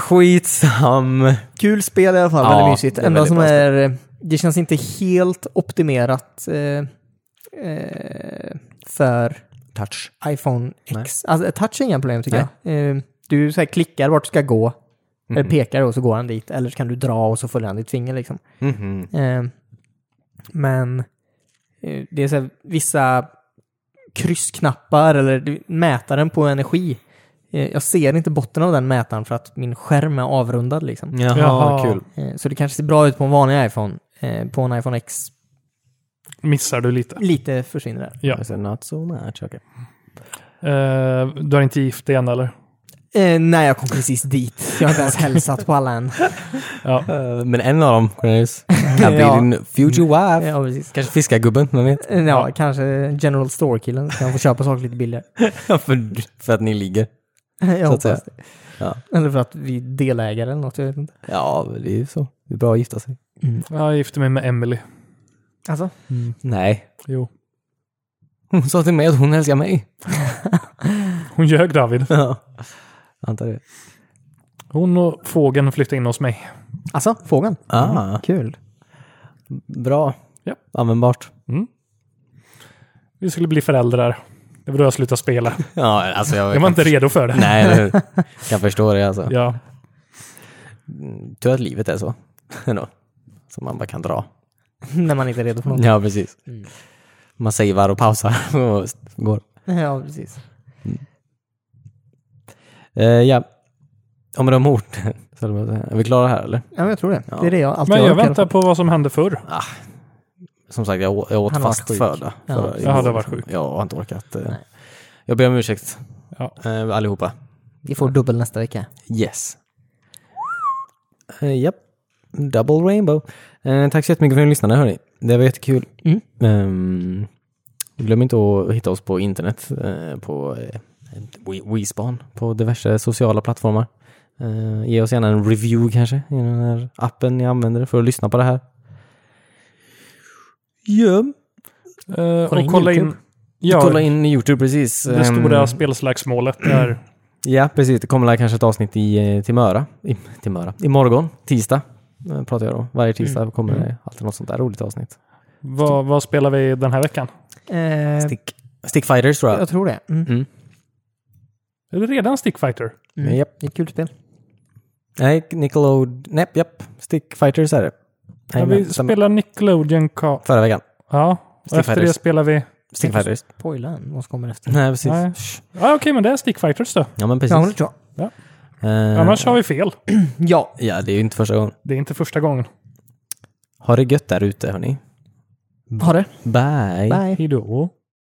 Speaker 1: Skitsam.
Speaker 2: Kul spel i alla fall,
Speaker 1: Ja,
Speaker 2: väldigt mysigt.
Speaker 1: det är
Speaker 2: Enda
Speaker 1: väldigt
Speaker 2: som
Speaker 1: bra
Speaker 2: är, eh, det känns inte helt optimerat eh, eh, för
Speaker 1: Touch.
Speaker 2: iPhone X. Alltså, touch är inga problem tycker jag. Eh, du så här, klickar vart du ska gå,
Speaker 1: Mm.
Speaker 2: eller pekar och så går han dit. Eller så kan du dra och så följer han ditt finger liksom.
Speaker 1: Mm-hmm.
Speaker 2: Eh, men eh, det är så här, vissa kryssknappar eller du- mätaren på energi. Eh, Jag ser inte botten av den mätaren för att min skärm är avrundad liksom.
Speaker 1: Jaha,
Speaker 3: Jaha.
Speaker 1: kul.
Speaker 2: Eh, Så det kanske ser bra ut på en vanlig iPhone. Eh, På en iPhone X
Speaker 3: Missar du lite.
Speaker 2: lite försvinner där.
Speaker 3: Ja.
Speaker 1: I said, Not so much, okay.
Speaker 3: Eh, du har inte gift dig än eller?
Speaker 2: Eh, nej, jag kom precis dit. Jag har inte ens hälsat på alla än.
Speaker 3: Ja.
Speaker 1: Eh, Men en av dem, Cornelius, kan bli
Speaker 2: Ja.
Speaker 1: din future wife.
Speaker 2: Eh, Ja, precis.
Speaker 1: Kanske fiskargubben, man vet.
Speaker 2: Eh, Ja, kanske General Store-killen så kan jag få köpa saker lite billigare.
Speaker 1: för, för att ni ligger.
Speaker 2: Jag
Speaker 1: Så att säga.
Speaker 2: hoppas det.
Speaker 1: Ja.
Speaker 2: Eller för att vi är delägare eller något, jag vet inte.
Speaker 1: Ja, men det är ju så. Det är bra att gifta sig.
Speaker 3: Jag gifte mig med Emily.
Speaker 2: Alltså,
Speaker 1: Nej.
Speaker 3: Jo.
Speaker 1: Hon sa till mig att hon älskar mig.
Speaker 3: Hon ljög David.
Speaker 1: Ja. Antar det.
Speaker 3: Hon och fågeln flyttade in hos mig.
Speaker 2: alltså fågeln.
Speaker 1: Ah,
Speaker 2: Kul.
Speaker 1: Bra.
Speaker 3: Ja.
Speaker 1: Användbart.
Speaker 3: Vi skulle bli föräldrar. Det var då jag slutade spela.
Speaker 1: Ja, alltså jag,
Speaker 3: Jag var inte redo för det.
Speaker 1: Nej, det, jag förstår det alltså.
Speaker 3: Ja.
Speaker 1: Tur att livet är så. Ändå. Som man bara kan dra.
Speaker 2: När man inte är redo för något.
Speaker 1: Ja, precis. Man savear och pausar och går.
Speaker 2: Ja, precis.
Speaker 1: Eh, ja. Om de orten. så är det- Är vi klara här eller?
Speaker 2: Ja, men jag tror det.
Speaker 1: Ja.
Speaker 2: Det är det jag alltid
Speaker 3: Men jag
Speaker 2: orkar.
Speaker 3: väntar på vad som hände förr.
Speaker 1: Som sagt, jag åt, jag åt
Speaker 2: Han var
Speaker 1: fast
Speaker 2: sjuk.
Speaker 1: föda.
Speaker 2: Ja.
Speaker 1: förra-
Speaker 3: Jaha,
Speaker 1: igår.
Speaker 3: du har varit sjuk.
Speaker 1: Ja, jag har inte orkat. eh. Jag ber om ursäkt.
Speaker 3: Ja.
Speaker 1: Eh, allihopa.
Speaker 2: Vi får dubbel nästa vecka.
Speaker 1: Yes. Eh, Japp. Double rainbow. Eh, tack så jättemycket för att ni lyssnade hörni. Det var jättekul.
Speaker 2: Mm.
Speaker 1: Ehm, glöm inte att hitta oss på internet, eh, på eh, We- WeSpan, på diverse sociala plattformar. Eh, ge oss gärna en review kanske i den här appen ni använder för att lyssna på det här. Ja,
Speaker 3: Eh,
Speaker 2: Kolla
Speaker 3: och
Speaker 2: in
Speaker 3: kolla
Speaker 2: YouTube.
Speaker 3: in... Ja,
Speaker 1: kolla in YouTube precis.
Speaker 3: det stora
Speaker 1: Ehm,
Speaker 3: spelslagsmålet där.
Speaker 1: Ja, precis. Det kommer väl kanske ett avsnitt i, eh, till Möra. I, till Möra. Imorgon, tisdag, eh, pratar jag då.
Speaker 3: Mm.
Speaker 1: Varje tisdag kommer det alltid något sånt där roligt avsnitt.
Speaker 3: Vad, vad spelar vi den här veckan?
Speaker 2: Eh,
Speaker 1: Stick, Stickfighters tror jag.
Speaker 2: jag tror det. Mm.
Speaker 3: Är det redan Stickfighter?
Speaker 1: Mm. Japp.
Speaker 2: Det är ett kul spel.
Speaker 1: Nej, Nickelode... Nej, japp. Stickfighters är det.
Speaker 3: Ja,
Speaker 1: Nej,
Speaker 3: vi
Speaker 1: men, samma-
Speaker 3: spelar Nickelodeon Cup.
Speaker 1: Förra veckan.
Speaker 3: Ja, och efter
Speaker 1: Stickfighters.
Speaker 3: det spelar vi...
Speaker 1: Stickfighters.
Speaker 2: Spoila än vad som kommer efter.
Speaker 1: Nej, precis.
Speaker 3: Nej.
Speaker 1: Shh.
Speaker 3: Ja, Okej, men det är Stickfighters då.
Speaker 1: Ja, men precis.
Speaker 2: Ja, men det tror jag.
Speaker 1: Eh,
Speaker 3: Annars har vi fel.
Speaker 2: Ja,
Speaker 1: Ja, det är ju inte första gången.
Speaker 3: Det är inte första gången.
Speaker 1: Ha det gött där ute, hörni.
Speaker 2: ha det.
Speaker 1: Bye.
Speaker 2: Bye.
Speaker 3: Hejdå.